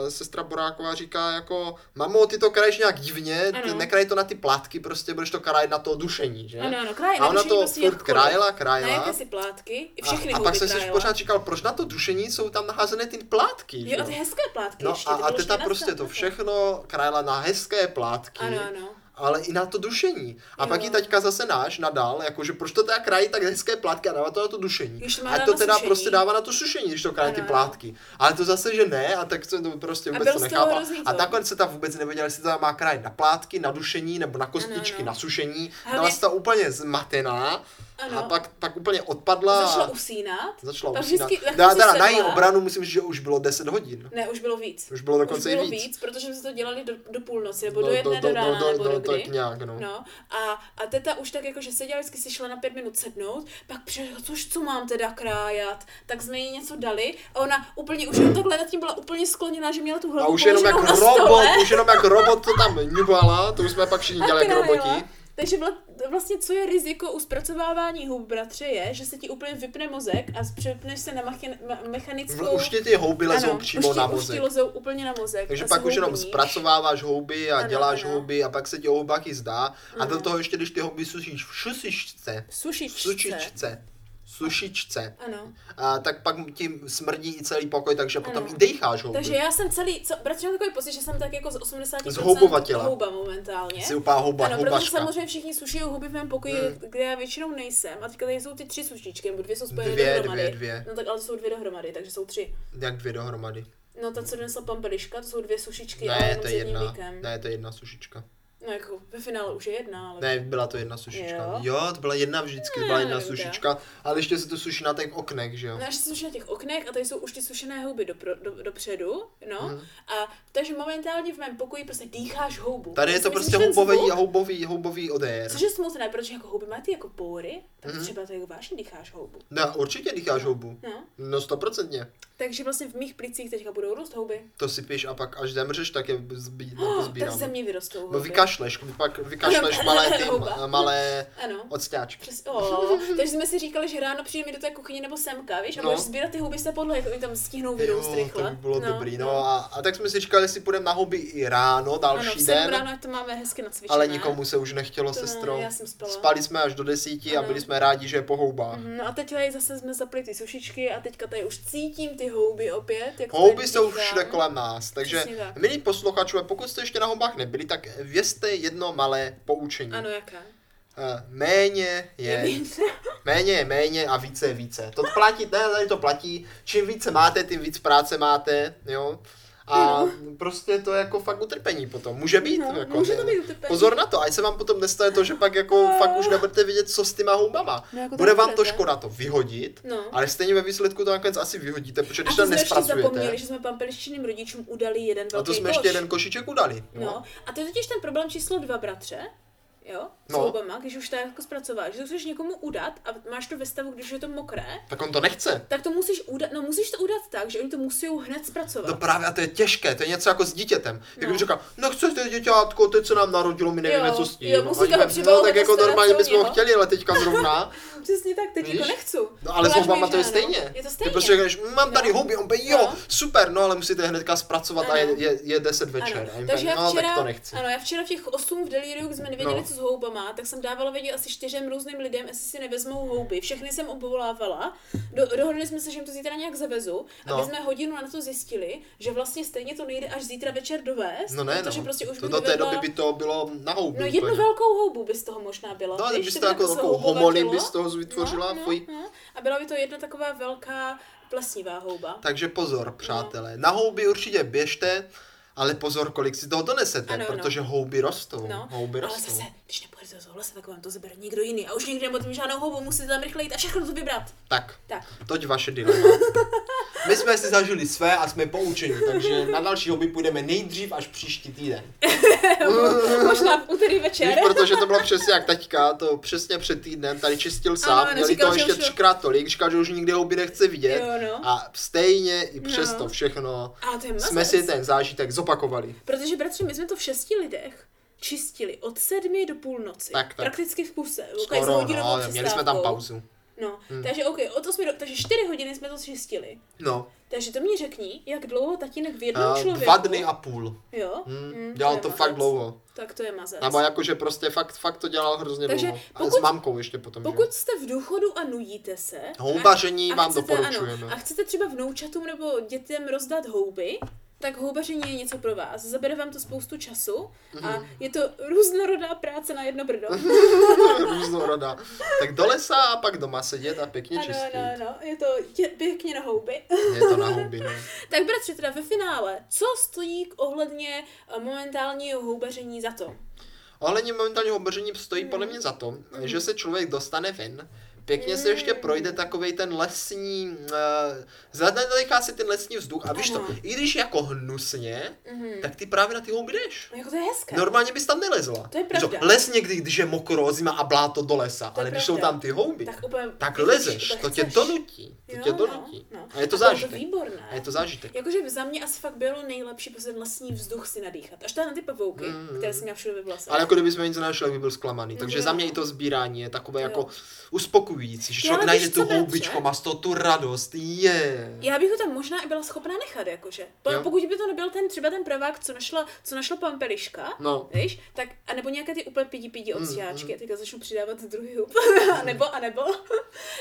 Speaker 1: m, sestra Boráková říká jako mamo, ty to kraješ nějak divně, ty
Speaker 2: Ano.
Speaker 1: nekraj to na ty plátky, prostě budeš to krajit na to dušení, že?
Speaker 2: Ano, ano, kráje
Speaker 1: a ona
Speaker 2: nevyšší
Speaker 1: to
Speaker 2: prostě
Speaker 1: furt
Speaker 2: jakkoliv.
Speaker 1: krájela,
Speaker 2: Na
Speaker 1: krájela.
Speaker 2: jaké si plátky, i všechny
Speaker 1: a, a
Speaker 2: houby
Speaker 1: pak jsem si
Speaker 2: krájela.
Speaker 1: pořád říkal, proč na to dušení jsou tam naházené ty plátky, že?
Speaker 2: Jo, a ty hezké plátky
Speaker 1: No
Speaker 2: ještě,
Speaker 1: a,
Speaker 2: ty
Speaker 1: a
Speaker 2: bylo
Speaker 1: teta
Speaker 2: ještě
Speaker 1: prostě to
Speaker 2: nastaveno.
Speaker 1: všechno krájela na hezké plátky,
Speaker 2: Ano, ano.
Speaker 1: ale i na to dušení. A
Speaker 2: Jo. no.
Speaker 1: pak ji taťka zase náš nadal, jakože prož to teda krájí tak hezké plátky a dává to na to dušení.
Speaker 2: Když to má
Speaker 1: A
Speaker 2: dát
Speaker 1: to
Speaker 2: na
Speaker 1: teda
Speaker 2: sušení.
Speaker 1: prostě dává na to sušení, když to krájí
Speaker 2: Ano,
Speaker 1: ty
Speaker 2: ano.
Speaker 1: plátky. Ale to zase, že ne, a tak jsem to prostě
Speaker 2: A
Speaker 1: vůbec
Speaker 2: byl
Speaker 1: to
Speaker 2: z toho
Speaker 1: nechápal.
Speaker 2: hrozný
Speaker 1: A
Speaker 2: to.
Speaker 1: nakonec se tam vůbec nevěděla, jestli to tam má krájet na plátky, na dušení nebo na kostičky,
Speaker 2: ano.
Speaker 1: na sušení.
Speaker 2: Hlavně-
Speaker 1: Byla se tam úplně zmatená
Speaker 2: Ano.
Speaker 1: a pak, pak úplně odpadla.
Speaker 2: Začala
Speaker 1: a
Speaker 2: usínat.
Speaker 1: začala
Speaker 2: pak
Speaker 1: usínat.
Speaker 2: vždycky-
Speaker 1: Na,
Speaker 2: vždycky
Speaker 1: teda na její
Speaker 2: sedla.
Speaker 1: obranu musím říct, že už bylo 10 hodin.
Speaker 2: Ne, už bylo víc.
Speaker 1: Už bylo
Speaker 2: Už
Speaker 1: dokonce
Speaker 2: bylo
Speaker 1: i víc. No,
Speaker 2: protože jsme se to dělali do, do půlnoci, nebo do jedné, do, rána, nebo do,
Speaker 1: tak
Speaker 2: kdy.
Speaker 1: nějak, no.
Speaker 2: No, a, a teta už tak jako, že seděla, vždycky si šla na pět minut sednout, pak přišla, což co mám teda krájat, tak jsme jí něco dali a ona úplně už jenom takhle nad tím byla úplně skloněná, že měla tu
Speaker 1: A
Speaker 2: hlavu
Speaker 1: už jenom jak
Speaker 2: položenou na
Speaker 1: robot,
Speaker 2: stole.
Speaker 1: už jenom jak robot to tam ňubala, to už jsme pak všichni
Speaker 2: A
Speaker 1: dělali jak
Speaker 2: krájela.
Speaker 1: roboti.
Speaker 2: Takže vla- vlastně co je riziko u zpracovávání hub, bratře, je, že se ti úplně vypne mozek a přepneš se na machin, ma- mechanickou...
Speaker 1: V- Už ti ty houby lezou
Speaker 2: Ano,
Speaker 1: přímo
Speaker 2: už ti,
Speaker 1: na
Speaker 2: Už ti
Speaker 1: mozek.
Speaker 2: lezou úplně na mozek.
Speaker 1: Takže
Speaker 2: a
Speaker 1: pak
Speaker 2: jsou
Speaker 1: už jenom
Speaker 2: houbní.
Speaker 1: zpracováváš houby a
Speaker 2: Ano,
Speaker 1: děláš
Speaker 2: ano.
Speaker 1: houby a pak se ti o houbách i zdá. A do toho ještě, když ty houby sušíš v šusičce,
Speaker 2: V
Speaker 1: v
Speaker 2: Sušičce.
Speaker 1: sušičce, sušičce,
Speaker 2: Ano.
Speaker 1: a tak pak ti smrdí i celý pokoj, takže potom
Speaker 2: Ano.
Speaker 1: i dejcháš houby.
Speaker 2: Takže já jsem celý, co, bratře, mám takový pocit, že jsem tak jako z 80%
Speaker 1: Zhoubovatěla.
Speaker 2: houba momentálně.
Speaker 1: Jsi úplná houba,
Speaker 2: ano, protože
Speaker 1: houbaška.
Speaker 2: samozřejmě všichni suší huby v mém pokoji,
Speaker 1: Hmm.
Speaker 2: kde já většinou nejsem. A teďka tady jsou ty tři sušičky, nebo dvě jsou spojené
Speaker 1: Dvě,
Speaker 2: dohromady.
Speaker 1: dvě, dvě.
Speaker 2: No tak ale to jsou dvě dohromady, takže jsou tři.
Speaker 1: Jak dvě dohromady.
Speaker 2: No ta, co donesla pampeliška, to jsou dvě sušičky, ale
Speaker 1: Ne,
Speaker 2: jenom
Speaker 1: to
Speaker 2: s
Speaker 1: je
Speaker 2: jedním
Speaker 1: jedna,
Speaker 2: víkem.
Speaker 1: ne, to je jedna sušička.
Speaker 2: No jako ve finále už je jedna, ale...
Speaker 1: Ne, byla to jedna sušička.
Speaker 2: Jo?
Speaker 1: Jo, to byla jedna vždycky, to byla jedna
Speaker 2: nevím,
Speaker 1: sušička, ale ještě se to suší na těch oknech, že jo?
Speaker 2: No, až se suší na těch oknech a tady jsou už ty sušené houby dopro, do, dopředu, no. Hmm. A takže momentálně v mém pokoji prostě dýcháš houbu.
Speaker 1: Tady je
Speaker 2: Já si
Speaker 1: to
Speaker 2: myslím,
Speaker 1: prostě
Speaker 2: že ten
Speaker 1: houbový,
Speaker 2: zvuk-
Speaker 1: houbový, houbový odér.
Speaker 2: Což je smutné, protože jako houby má ty jako pory, tak
Speaker 1: Mhm.
Speaker 2: hmm. třeba tady vážně dýcháš houbu.
Speaker 1: No, určitě dýcháš houbu.
Speaker 2: No.
Speaker 1: No, stoprocentně.
Speaker 2: Takže vlastně v mých plicích teďka budou růst houby.
Speaker 1: To si píš a pak až zemřeš, tak je zbí, oh,
Speaker 2: Oh, tak ze
Speaker 1: zbírám.
Speaker 2: mě vyrostou houby.
Speaker 1: No, vykašleš, pak vykašleš
Speaker 2: Ano,
Speaker 1: malé ty,
Speaker 2: houba.
Speaker 1: malé
Speaker 2: Ano.
Speaker 1: odstáčky.
Speaker 2: Přes, o, takže jsme si říkali, že ráno přijde mi do té kuchyně nebo semka, víš, a
Speaker 1: No.
Speaker 2: budeš sbírat ty houby z té podlahy, oni tam stihnou vyrůst
Speaker 1: Jo,
Speaker 2: rychle.
Speaker 1: to by bylo dobrý, no a, a tak jsme si říkali, jestli půjdeme na hobby i ráno,
Speaker 2: Ano,
Speaker 1: další
Speaker 2: v sedm
Speaker 1: den.
Speaker 2: ráno to máme hezky nacvičené.
Speaker 1: Ale nikomu se už nechtělo,
Speaker 2: To ne,
Speaker 1: sestro.
Speaker 2: já jsem spala.
Speaker 1: Spali jsme až do desíti
Speaker 2: Ano.
Speaker 1: a byli jsme rádi, že je po houbách.
Speaker 2: No a teď tady zase jsme zapli ty sušičky a teďka tady už cítím ty houby opět. Jak
Speaker 1: Houby
Speaker 2: tady
Speaker 1: jsou
Speaker 2: dýchám.
Speaker 1: všude kolem nás, takže
Speaker 2: no. Přesně tak.
Speaker 1: milí posluchačové, pokud jste ještě na houbách nebyli, tak vězte jedno malé poučení.
Speaker 2: Ano, jaká?
Speaker 1: Eh, Méně je, méně je méně a více je více. To platí, ne, tady to platí, čím více máte, tím víc práce máte, jo. A prostě to je jako fakt utrpení potom. Může být.
Speaker 2: No,
Speaker 1: jako,
Speaker 2: může to
Speaker 1: ne-
Speaker 2: být utrpení.
Speaker 1: Pozor na to, ať se vám potom nestane to, že pak jako fakt už nebudete vědět, co s těma houbama.
Speaker 2: No, jako to
Speaker 1: Bude vám to
Speaker 2: nebudete.
Speaker 1: škoda to vyhodit,
Speaker 2: No.
Speaker 1: ale stejně ve výsledku to nakonec asi vyhodíte, protože
Speaker 2: A
Speaker 1: když
Speaker 2: to
Speaker 1: to
Speaker 2: jsme ještě
Speaker 1: nespracujete.
Speaker 2: zapomněli, že jsme pampelištěným rodičům udali jeden
Speaker 1: A
Speaker 2: velký
Speaker 1: to jsme
Speaker 2: koš.
Speaker 1: ještě jeden košíček udali. No.
Speaker 2: No, a to je totiž ten problém číslo dva, bratře, jo, s
Speaker 1: No.
Speaker 2: houbama, když už to jako zpracováš, že to chceš někomu udat a máš to ve stavu, když už je to mokré,
Speaker 1: Tak on to nechce.
Speaker 2: tak to musíš udat, no musíš to udat tak, že oni to musí hned zpracovat.
Speaker 1: No právě a to je těžké, to je něco jako s dítětem. Jak
Speaker 2: No.
Speaker 1: no. říká, nechce to děťátko, teď se nám narodilo, my nevíme,
Speaker 2: Jo,
Speaker 1: co s tím.
Speaker 2: jo,
Speaker 1: A
Speaker 2: musíte
Speaker 1: oni,
Speaker 2: ho přivouvat
Speaker 1: no, tak
Speaker 2: a
Speaker 1: jako
Speaker 2: postarat se
Speaker 1: normálně
Speaker 2: o
Speaker 1: bychom ho
Speaker 2: něho."
Speaker 1: chtěli, ale teďka zrovna.
Speaker 2: Přesně tak, teď
Speaker 1: Víš?
Speaker 2: jako nechci.
Speaker 1: No ale s
Speaker 2: Voláš
Speaker 1: houbama
Speaker 2: mi,
Speaker 1: to je
Speaker 2: že ano.
Speaker 1: stejně.
Speaker 2: no, Je to
Speaker 1: Ty
Speaker 2: stejně.
Speaker 1: prostě řekneš, mám tady
Speaker 2: No.
Speaker 1: houby, on by, jo,
Speaker 2: No.
Speaker 1: super, no ale musíte hnedka zpracovat a
Speaker 2: Ano.
Speaker 1: je, je, je 10 večer. A
Speaker 2: Ano.
Speaker 1: jim
Speaker 2: Takže
Speaker 1: tak,
Speaker 2: já
Speaker 1: no,
Speaker 2: včera,
Speaker 1: tak to nechci.
Speaker 2: ano, já včera v těch 8 v deliriu jsme nevěděli,
Speaker 1: No.
Speaker 2: co s houbama, tak jsem dávala vědět asi čtyřem různým lidem, jestli si nevezmou houby. Všechny jsem obvolávala. Do, dohodli jsme se, že jim to zítra nějak zavezu.
Speaker 1: No.
Speaker 2: No. Aby jsme hodinu na to zjistili, že vlastně stejně to nejde až zítra večer dovést.
Speaker 1: No ne,
Speaker 2: protože
Speaker 1: no.
Speaker 2: prostě už
Speaker 1: to
Speaker 2: by
Speaker 1: do té
Speaker 2: dovedla-
Speaker 1: doby by to bylo na houbu.
Speaker 2: No jednu
Speaker 1: úplně.
Speaker 2: velkou houbu by z toho možná byla.
Speaker 1: No, ale
Speaker 2: víš,
Speaker 1: bys
Speaker 2: že
Speaker 1: to
Speaker 2: by
Speaker 1: jako
Speaker 2: takhle se
Speaker 1: takovou
Speaker 2: houbovat
Speaker 1: homolin
Speaker 2: bylo.
Speaker 1: bys toho vytvořila.
Speaker 2: no,
Speaker 1: fuj.
Speaker 2: no, no. A byla by to jedna taková velká plesnivá houba.
Speaker 1: Takže
Speaker 2: No.
Speaker 1: pozor, přátelé. Na houby určitě běžte, ale pozor, kolik si toho donesete,
Speaker 2: Ano, no.
Speaker 1: protože houby rostou.
Speaker 2: No,
Speaker 1: houby
Speaker 2: ale
Speaker 1: rostou.
Speaker 2: zase, když nepůjdete do souhlasu, tak vám to zabere někdo jiný. A už nikdy nebudete mít žádnou houbu, musíte tam rychle jít a všechno to vybrat.
Speaker 1: Tak,
Speaker 2: Tak,
Speaker 1: toť vaše dilema. My jsme si zažili své a jsme poučeni, takže na další houby půjdeme nejdřív až příští týden.
Speaker 2: možná v úterý
Speaker 1: Víš,
Speaker 2: večer.
Speaker 1: protože to bylo přesně jak taťka, to přesně před týdnem tady čistil sám,
Speaker 2: Ano,
Speaker 1: měli
Speaker 2: říkal,
Speaker 1: to
Speaker 2: že
Speaker 1: ještě
Speaker 2: už-
Speaker 1: třikrát tolik, říkal, že už nikdy houby nechce vidět
Speaker 2: Jo, no.
Speaker 1: a stejně i přes
Speaker 2: No.
Speaker 1: to všechno
Speaker 2: A to je
Speaker 1: jsme
Speaker 2: mazec.
Speaker 1: si ten zážitek zopakovali.
Speaker 2: Protože, bratře, my jsme to v šesti lidech čistili od sedmi do půlnoci.
Speaker 1: Tak, tak.
Speaker 2: Prakticky v kuse. Skoro,
Speaker 1: Skoro, no,
Speaker 2: no,
Speaker 1: měli jsme tam pauzu. Hmm.
Speaker 2: No, takže OK, od 8 do, takže 4 hodiny jsme to čistili.
Speaker 1: No,
Speaker 2: Takže to mě řekni, jak dlouho tatínek v jednom
Speaker 1: a
Speaker 2: člověku...
Speaker 1: Eh, dva dny a půl.
Speaker 2: Jo?
Speaker 1: Hmm,
Speaker 2: Mm,
Speaker 1: dělal
Speaker 2: no. je
Speaker 1: to
Speaker 2: mazec.
Speaker 1: fakt dlouho.
Speaker 2: Tak to je mazec.
Speaker 1: Nebo jakože prostě fakt, fakt to dělal hrozně
Speaker 2: Takže
Speaker 1: dlouho. A s
Speaker 2: pokud-
Speaker 1: mamkou ještě potom. že jo.
Speaker 2: Pokud jste v důchodu a nujíte se...
Speaker 1: Houbaření vám doporučujeme.
Speaker 2: Ano, a chcete třeba vnoučatům nebo dětem rozdat houby, tak houbaření je něco pro vás. Zabere vám to spoustu času a
Speaker 1: Mhm.
Speaker 2: je to různorodá práce na jedno brdo.
Speaker 1: Různorodá. Tak do lesa a pak doma sedět a pěkně
Speaker 2: Ano,
Speaker 1: čistit.
Speaker 2: ano, ano, je to je, pěkně na houby.
Speaker 1: Je to na houby, no.
Speaker 2: tak bratře, teda ve finále, co stojí k ohledně eh, momentálního houbaření za to?
Speaker 1: Ohledně momentálního obržení
Speaker 2: Hmm.
Speaker 1: stojí podle mě za to, že se člověk dostane ven, pěkně se
Speaker 2: Hmm.
Speaker 1: ještě projde takovej ten lesní, uh, zadechá si ten lesní vzduch a víš to,
Speaker 2: Ano.
Speaker 1: i když jako hnusně,
Speaker 2: Hmm.
Speaker 1: tak ty právě na ty houby jdeš.
Speaker 2: No jako to je hezké.
Speaker 1: Normálně bys tam nelezla.
Speaker 2: To je
Speaker 1: Víš
Speaker 2: pravda.
Speaker 1: Les někdy, když je mokro, zima a bláto do lesa,
Speaker 2: To je
Speaker 1: ale když jsou
Speaker 2: pravda.
Speaker 1: tam ty houby, tak,
Speaker 2: tak úplně...
Speaker 1: tak lezeš,
Speaker 2: úplně
Speaker 1: to tě
Speaker 2: chceš.
Speaker 1: donutí. To
Speaker 2: Jo,
Speaker 1: tě
Speaker 2: no,
Speaker 1: donutí.
Speaker 2: no.
Speaker 1: A je to
Speaker 2: bylo
Speaker 1: zážitek.
Speaker 2: výborné.
Speaker 1: A je to zážitek.
Speaker 2: Jakože za mě asi fakt bylo nejlepší prostě vlastní vzduch si nadýchat. Až teda na ty pavouky,
Speaker 1: Mm.
Speaker 2: mm. které jsem měla všude ve vlasech.
Speaker 1: Ale jako kdyby jsme nic nenašli, tak by byl zklamaný. Takže
Speaker 2: Jo.
Speaker 1: za mě i to sbírání je takové
Speaker 2: Jo.
Speaker 1: jako uspokojující, že
Speaker 2: Jo,
Speaker 1: člověk
Speaker 2: ale
Speaker 1: najde
Speaker 2: víš
Speaker 1: tu
Speaker 2: co, bratře?
Speaker 1: houbičku, má z toho tu radost, je.
Speaker 2: Já bych ho tam možná i byla schopná nechat, jakože. Po,
Speaker 1: Jo.
Speaker 2: pokud by to nebyl ten třeba ten pravák, co našla, co našla pampeliška,
Speaker 1: No.
Speaker 2: víš, tak, anebo nějaké ty úplně pidi pidi
Speaker 1: Mm,
Speaker 2: odsíháčky, mm, teďka začnu přidávat druhý hub, anebo, anebo.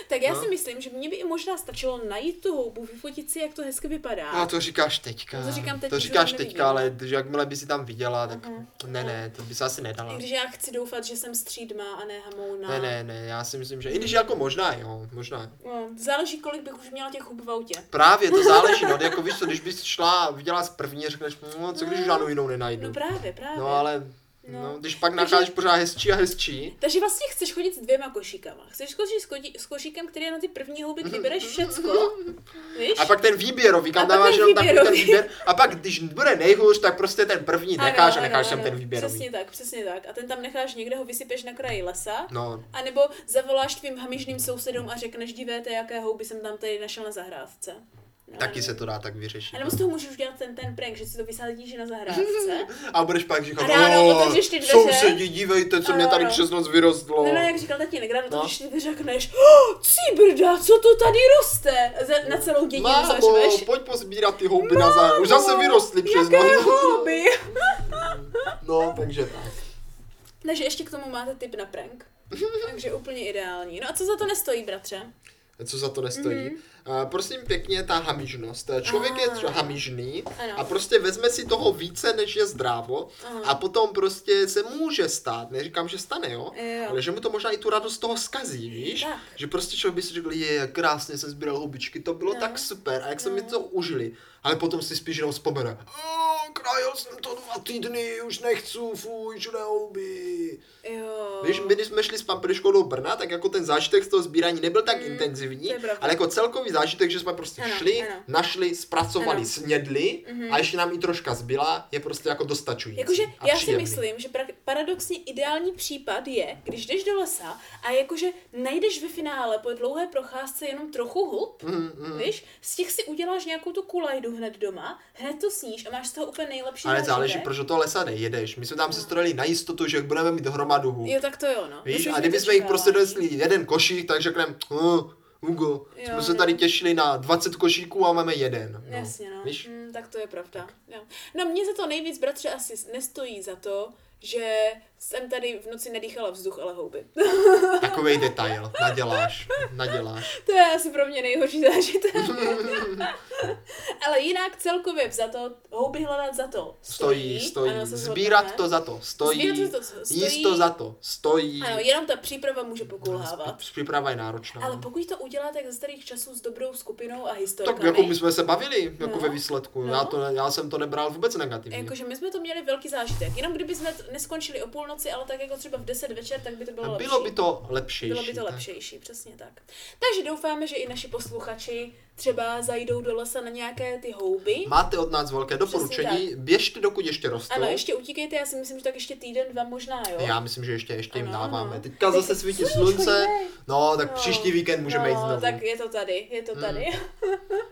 Speaker 2: tak já
Speaker 1: Hmm. No.
Speaker 2: si myslím, že mě by i možná stačilo najít tu houbu, vyfotit si, jak to hezky vypadá.
Speaker 1: No to říkáš teďka.
Speaker 2: To říkám teď,
Speaker 1: to
Speaker 2: že
Speaker 1: říkáš
Speaker 2: to
Speaker 1: teďka,
Speaker 2: nevidím. Mhm.
Speaker 1: ale že jakmile by si tam viděla, tak ne, ne, to by se asi nedala.
Speaker 2: I když no. já chci doufat, že jsem střídma a ne hamouna.
Speaker 1: Ne, ne, ne, já si myslím, že i když jako možná, jo, možná. jo.
Speaker 2: No, záleží, kolik bych už měla těch hub v autě. No
Speaker 1: Právě to záleží, no, jako víš co, když bys šla a viděla z první, řekneš, no, co když žádnou jinou nenajdu.
Speaker 2: No právě, právě.
Speaker 1: No ale, no,
Speaker 2: No.
Speaker 1: když pak
Speaker 2: Takže-
Speaker 1: nacházíš pořád hezčí a hezčí,
Speaker 2: Takže vlastně chceš chodit s dvěma košíkama. Chceš chodit s, kodi- s košíkem, který je na ty první houby, kdy bereš všecko, víš?
Speaker 1: Mhm. A pak ten výběrový,
Speaker 2: A
Speaker 1: kam
Speaker 2: pak
Speaker 1: dáváš
Speaker 2: ten
Speaker 1: jenom takový ten
Speaker 2: výběrový.
Speaker 1: výběr. A pak, když bude nejhůř, tak prostě ten první
Speaker 2: Ano,
Speaker 1: necháš a
Speaker 2: ano,
Speaker 1: necháš tam
Speaker 2: ano.
Speaker 1: ten výběrový.
Speaker 2: Přesně tak, přesně tak. A ten tam necháš někde, ho vysypeš na kraji lesa.
Speaker 1: No,
Speaker 2: A nebo zavoláš tvým hamižným sousedům a řekneš, dívejte, jaké houby jsem tam tady našel na zahrádce. No,
Speaker 1: taky
Speaker 2: a
Speaker 1: se
Speaker 2: nebo-
Speaker 1: to dá tak vyřešit.
Speaker 2: A nebo z toho můžeš udělat ten, ten prank, že si to vysázíš na zahrádce.
Speaker 1: A budeš pak říkat,
Speaker 2: A ráno
Speaker 1: "Jo,
Speaker 2: otevřeš ty dveře."
Speaker 1: sousedi, dívejte, co mě
Speaker 2: Ano,
Speaker 1: tady
Speaker 2: ano.
Speaker 1: přes noc vyrostlo.
Speaker 2: No, no, jak říkal tatínek, ráno
Speaker 1: No.
Speaker 2: to, když ty řekneš, oh, cíbrda, co to tady roste? Za, na celou dědinu
Speaker 1: Mámo,
Speaker 2: zařveš.
Speaker 1: pojď pozbírat ty houby na záru. Už zase vyrostly přes
Speaker 2: No, Jaké
Speaker 1: noc.
Speaker 2: houby?
Speaker 1: No, takže tak.
Speaker 2: Takže ještě k tomu máte tip na prank. Takže úplně ideální. No a co za to nestojí, bratře?
Speaker 1: co za to nestojí. Mm-hmm. Prosím pěkně, ta hamižnost. Člověk je
Speaker 2: Mhm. Ah.
Speaker 1: tr- hamižný
Speaker 2: Ano.
Speaker 1: a prostě vezme si toho více, než je zdrávo
Speaker 2: Aha.
Speaker 1: a potom prostě se může stát, neříkám, že stane, jo,
Speaker 2: Jo.
Speaker 1: ale že mu to možná i tu radost toho skazí, víš?
Speaker 2: Tak.
Speaker 1: Že prostě člověk by si řekl, je, krásně jsem sbíral hubičky, to bylo
Speaker 2: No.
Speaker 1: tak super a jak jsme mi to užili. Ale potom si spíš jenom vzpomene, "O, krajil jsem to dva týdny, už nechci, fuj, už nehuby.
Speaker 2: Jo.
Speaker 1: Víš, my když jsme šli s pampeliškou do Brna, tak jako ten zážitek z toho sbírání nebyl tak intenzivní,
Speaker 2: Mm, to je pravda.
Speaker 1: ale jako celkový zážitek, že jsme prostě
Speaker 2: Ano,
Speaker 1: šli,
Speaker 2: ano.
Speaker 1: našli, zpracovali,
Speaker 2: Ano. Mhm.
Speaker 1: snědli a ještě nám i troška zbyla, je prostě jako dostačující.
Speaker 2: Jakože
Speaker 1: a
Speaker 2: já si
Speaker 1: příjemný.
Speaker 2: myslím, že pra- paradoxně ideální případ je, když jdeš do lesa a jakože najdeš ve finále po dlouhé procházce jenom trochu hub,
Speaker 1: Mm, mm.
Speaker 2: víš, z těch si uděláš nějakou tu kulajdu hned doma, hned to sníš a máš z toho úplně nejlepší
Speaker 1: Ale
Speaker 2: zážitek.
Speaker 1: záleží, proč do toho lesa nejedeš. My jsme tam se strojili na jistotu, že budeme mít hromadu hub.
Speaker 2: No. Jo, tak to jo, no.
Speaker 1: Víš,
Speaker 2: Myslím,
Speaker 1: a
Speaker 2: že
Speaker 1: kdyby
Speaker 2: to
Speaker 1: jsme jich
Speaker 2: čekávání.
Speaker 1: prostě donesli jeden košík, tak řekneme, "Hm, Hugo, jsme
Speaker 2: Jo,
Speaker 1: se
Speaker 2: no.
Speaker 1: tady těšili na 20 košíků a máme jeden. No.
Speaker 2: Jasně, no.
Speaker 1: Víš?
Speaker 2: Mm, tak to je pravda. Jo. No mně za to nejvíc, bratře, asi s- nestojí za to, že jsem tady v noci nedýchala vzduch, ale houby.
Speaker 1: Takový detail. Naděláš. Naděláš.
Speaker 2: To je asi pro mě nejhorší zážitek. Ale jinak celkově za to, houby hledat za to
Speaker 1: Stojí, stojí.
Speaker 2: Ano, se shodneme.
Speaker 1: Sbírat to za to. Stojí.
Speaker 2: Sbírat to za to stojí.
Speaker 1: Jíst to za to. Stojí.
Speaker 2: Ano, jenom ta příprava může pokulhávat.
Speaker 1: Při- Příprava je náročná.
Speaker 2: Ale pokud to uděláte jak ze starých časů s dobrou skupinou a historikami,
Speaker 1: no. Tak jako my jsme se bavili, jako
Speaker 2: No.
Speaker 1: ve výsledku.
Speaker 2: No. Jako,
Speaker 1: Já, to, ne- já jsem to nebral vůbec negativně.
Speaker 2: Jakože my jsme to měli velký zážitek. Jenom kdyby jsme t- neskončili o půlnoci, ale tak jako třeba v 10 večer, tak by to bylo
Speaker 1: A
Speaker 2: lepší.
Speaker 1: bylo by to lepší.
Speaker 2: Bylo by to lepšejší, přesně tak. Takže doufáme, že i naši posluchači třeba zajdou do lesa na nějaké ty houby.
Speaker 1: Máte od nás velké doporučení, běžte dokud ještě rostou.
Speaker 2: Ano, ještě utíkejte, já si myslím, že tak ještě týden, dva možná, jo.
Speaker 1: Já myslím, že ještě, ještě jim
Speaker 2: Ano,
Speaker 1: dáváme.
Speaker 2: ano.
Speaker 1: Teďka
Speaker 2: Teď
Speaker 1: zase svítí
Speaker 2: sluníčko
Speaker 1: slunce,
Speaker 2: je.
Speaker 1: no tak
Speaker 2: No.
Speaker 1: příští víkend můžeme jít znovu. Hmm.
Speaker 2: tak je to tady, je to tady.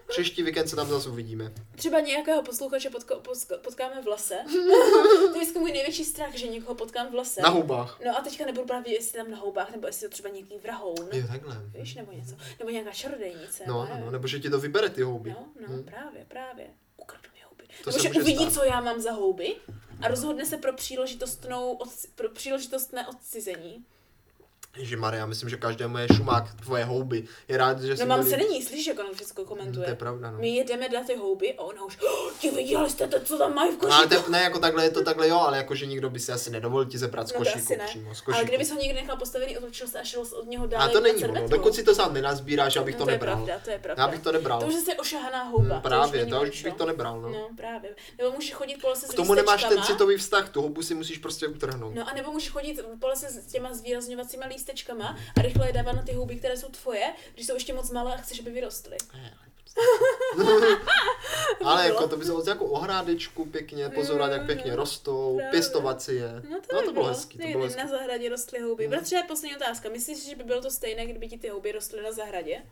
Speaker 1: Příští víkend se tam zase uvidíme.
Speaker 2: Třeba nějakého posluchače potko, potko, potkáme v lese. to je vždycky můj největší strach, že někoho potkám v lese.
Speaker 1: Na hubách.
Speaker 2: No a teďka nebudu právě, jestli tam na houbách, nebo jestli to třeba No. nějaký vrahoun.
Speaker 1: Jo, takhle.
Speaker 2: Víš, nebo něco. Nebo nějaká čarodejnice.
Speaker 1: No,
Speaker 2: já
Speaker 1: no, no,
Speaker 2: nevím.
Speaker 1: nebo že ti to vybere ty houby.
Speaker 2: No, no,
Speaker 1: Hm.
Speaker 2: právě, právě. Ukradl mi houby.
Speaker 1: To
Speaker 2: To
Speaker 1: se
Speaker 2: Nebo že
Speaker 1: může
Speaker 2: uvidí,
Speaker 1: stát. No.
Speaker 2: co já mám za houby a rozhodne se pro, příležitostnou, odci- pro příležitostné odcizení. No,
Speaker 1: Že Maria, myslím, že každému je šumák tvoje houby. Je rád, že
Speaker 2: No
Speaker 1: jsi
Speaker 2: mám
Speaker 1: byli-
Speaker 2: se není, slyšíš, jak on všechno
Speaker 1: Hm,
Speaker 2: komentuje.
Speaker 1: To je pravda, no.
Speaker 2: My jedeme dát ty houby a ona už, oh, ti viděli jste to, co tam mají v
Speaker 1: No, ale
Speaker 2: košíku.
Speaker 1: te, ne, jako takhle je to takhle, jo, ale jakože nikdo by si asi nedovolil ti zebrat z
Speaker 2: No to
Speaker 1: košíku
Speaker 2: asi ne.
Speaker 1: přímo, z
Speaker 2: Ale
Speaker 1: košíku.
Speaker 2: kdyby se ho někdy nechal postavený, otočil se a šel se od něho dál.
Speaker 1: A to není ono, dokud si to sám nenazbíráš, já bych
Speaker 2: no,
Speaker 1: to,
Speaker 2: to je
Speaker 1: nebral.
Speaker 2: pravda, to je pravda.
Speaker 1: Já bych to nebral.
Speaker 2: To už je zase ošahaná houba.
Speaker 1: Hm, právě,
Speaker 2: není
Speaker 1: to už
Speaker 2: ono,
Speaker 1: bych
Speaker 2: jo.
Speaker 1: to nebral, no.
Speaker 2: No, právě. Nebo můžeš chodit po lese s
Speaker 1: K tomu nemáš ten
Speaker 2: lístečkama.
Speaker 1: citový vztah, tu hubu si musíš prostě utrhnout.
Speaker 2: No a nebo můžeš chodit po lese s těma zvýrazňovacíma lístečkama a rychle je dávat na ty houby, které jsou tvoje, když jsou ještě moc malé a chceš, aby vyrostly.
Speaker 1: prostě. Ale
Speaker 2: bylo. Mm,
Speaker 1: jako to by se moc jako ohrádečku pěkně, pozorovat, jak pěkně rostou,
Speaker 2: Právě.
Speaker 1: pěstovat si je.
Speaker 2: No to,
Speaker 1: no,
Speaker 2: by
Speaker 1: to bylo hezký, to
Speaker 2: Ne,
Speaker 1: bylo
Speaker 2: ne,
Speaker 1: hezký. No.
Speaker 2: Na zahradě rostly houby. Hmm. Bratře, poslední otázka. Myslíš, že by bylo to stejné, kdyby ti ty houby rostly na zahradě?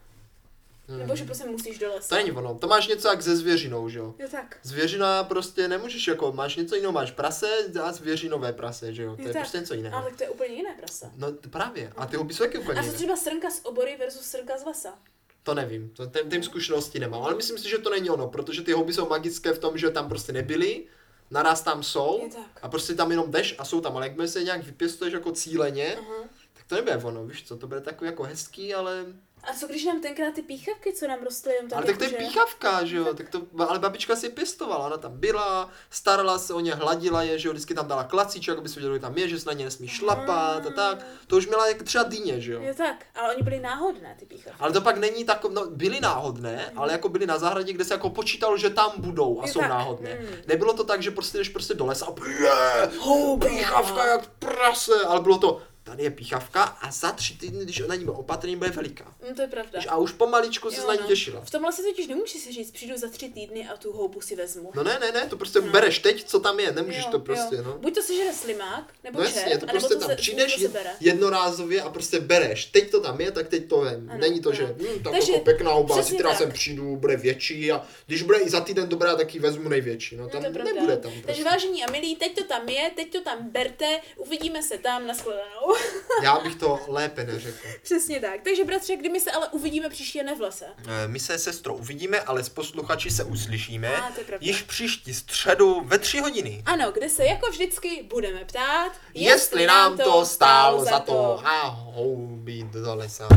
Speaker 1: Hmm.
Speaker 2: Nebo že prostě musíš do lesa?
Speaker 1: To není ono, to máš něco jak ze zvěřinou, že jo?
Speaker 2: Jo tak.
Speaker 1: Zvěřina prostě nemůžeš jako, máš něco jiného, máš prase a zvěřinové prase, že jo? To
Speaker 2: Je
Speaker 1: je
Speaker 2: tak.
Speaker 1: prostě něco
Speaker 2: Ale
Speaker 1: jiného.
Speaker 2: tak to je úplně jiné prasa.
Speaker 1: No t- právě, a ty huby jsou taky úplně
Speaker 2: A co
Speaker 1: jiné.
Speaker 2: třeba srnka z obory versus srnka z lesa?
Speaker 1: To nevím, to, ten, tím zkušenosti nemám, ale myslím si, že to není ono, protože ty houby jsou magické v tom, že tam prostě nebyly, naraz tam jsou
Speaker 2: Je tak.
Speaker 1: a prostě tam jenom jdeš a jsou tam, ale jakmile se nějak vypěstuješ jako cíleně,
Speaker 2: Aha.
Speaker 1: tak to nebude ono, víš co, to bude takový jako hezký, ale,
Speaker 2: A co když nám tenkrát ty píchavky, co nám rostly jenom tak
Speaker 1: ale
Speaker 2: jako,
Speaker 1: tak to je
Speaker 2: jakože-
Speaker 1: píchavka, že jo, tak to, ale babička si je pěstovala, ona tam byla, starala se o ně, hladila je, že jo, vždycky tam dala klacíček, aby se věděli, že tam je, že se na ně nesmí šlapat a
Speaker 2: Mm.
Speaker 1: tak, to už měla jak třeba dýně, že jo.
Speaker 2: Jo tak, ale oni byli náhodné, ty píchavky.
Speaker 1: Ale to pak není takové, no byly náhodné, ale jako byly na zahradě, kde se jako počítalo, že tam budou a
Speaker 2: Je
Speaker 1: jsou
Speaker 2: tak,
Speaker 1: náhodné.
Speaker 2: mm.
Speaker 1: Nebylo to tak, že prostě jdeš prostě do lesa a je, píchavka jak prase, ale bylo to, tady je píchavka a za tři týdny, když na ní byl opatrný, bude veliká.
Speaker 2: No to je pravda.
Speaker 1: Víš, A už pomaličku se
Speaker 2: Jo,
Speaker 1: na ní
Speaker 2: no.
Speaker 1: těšila.
Speaker 2: V tomhle si totiž nemůžeš si říct, přijdu za tři týdny a tu houbu si vezmu.
Speaker 1: No ne, ne, ne, to prostě bereš teď, co tam je, nemůžeš
Speaker 2: Jo,
Speaker 1: to prostě,
Speaker 2: jo.
Speaker 1: no.
Speaker 2: Buď to sežere slimák, nebo
Speaker 1: No
Speaker 2: čert,
Speaker 1: jasně, to
Speaker 2: anebo
Speaker 1: prostě
Speaker 2: to
Speaker 1: tam
Speaker 2: se,
Speaker 1: přijdeš
Speaker 2: to se bere.
Speaker 1: jednorázově a prostě bereš. Teď to tam je, tak teď to vem.
Speaker 2: Ano,
Speaker 1: Není to,
Speaker 2: ano.
Speaker 1: že hm, tak
Speaker 2: Takže
Speaker 1: jako pěkná oba,
Speaker 2: přesně
Speaker 1: zítra
Speaker 2: tak.
Speaker 1: sem přijdu, bude větší a když bude i za týden dobrá, tak ji vezmu největší. No
Speaker 2: No,
Speaker 1: tam
Speaker 2: to je pravda.
Speaker 1: nebude tam
Speaker 2: Takže
Speaker 1: prostě.
Speaker 2: vážení a milí, teď to tam je, teď to tam berte, uvidíme se tam na shledanou.
Speaker 1: Já bych to lépe neřekl.
Speaker 2: Přesně tak. Takže bratře, kdy my se ale uvidíme příště ne v lese.
Speaker 1: Eh, My se sestrou uvidíme, ale s posluchači se uslyšíme
Speaker 2: A, to je pravda.
Speaker 1: již příští středu ve tři hodiny.
Speaker 2: Ano, kde se jako vždycky budeme ptát,
Speaker 1: Jestli nám to stálo za to. A houby do lesa.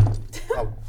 Speaker 1: Au.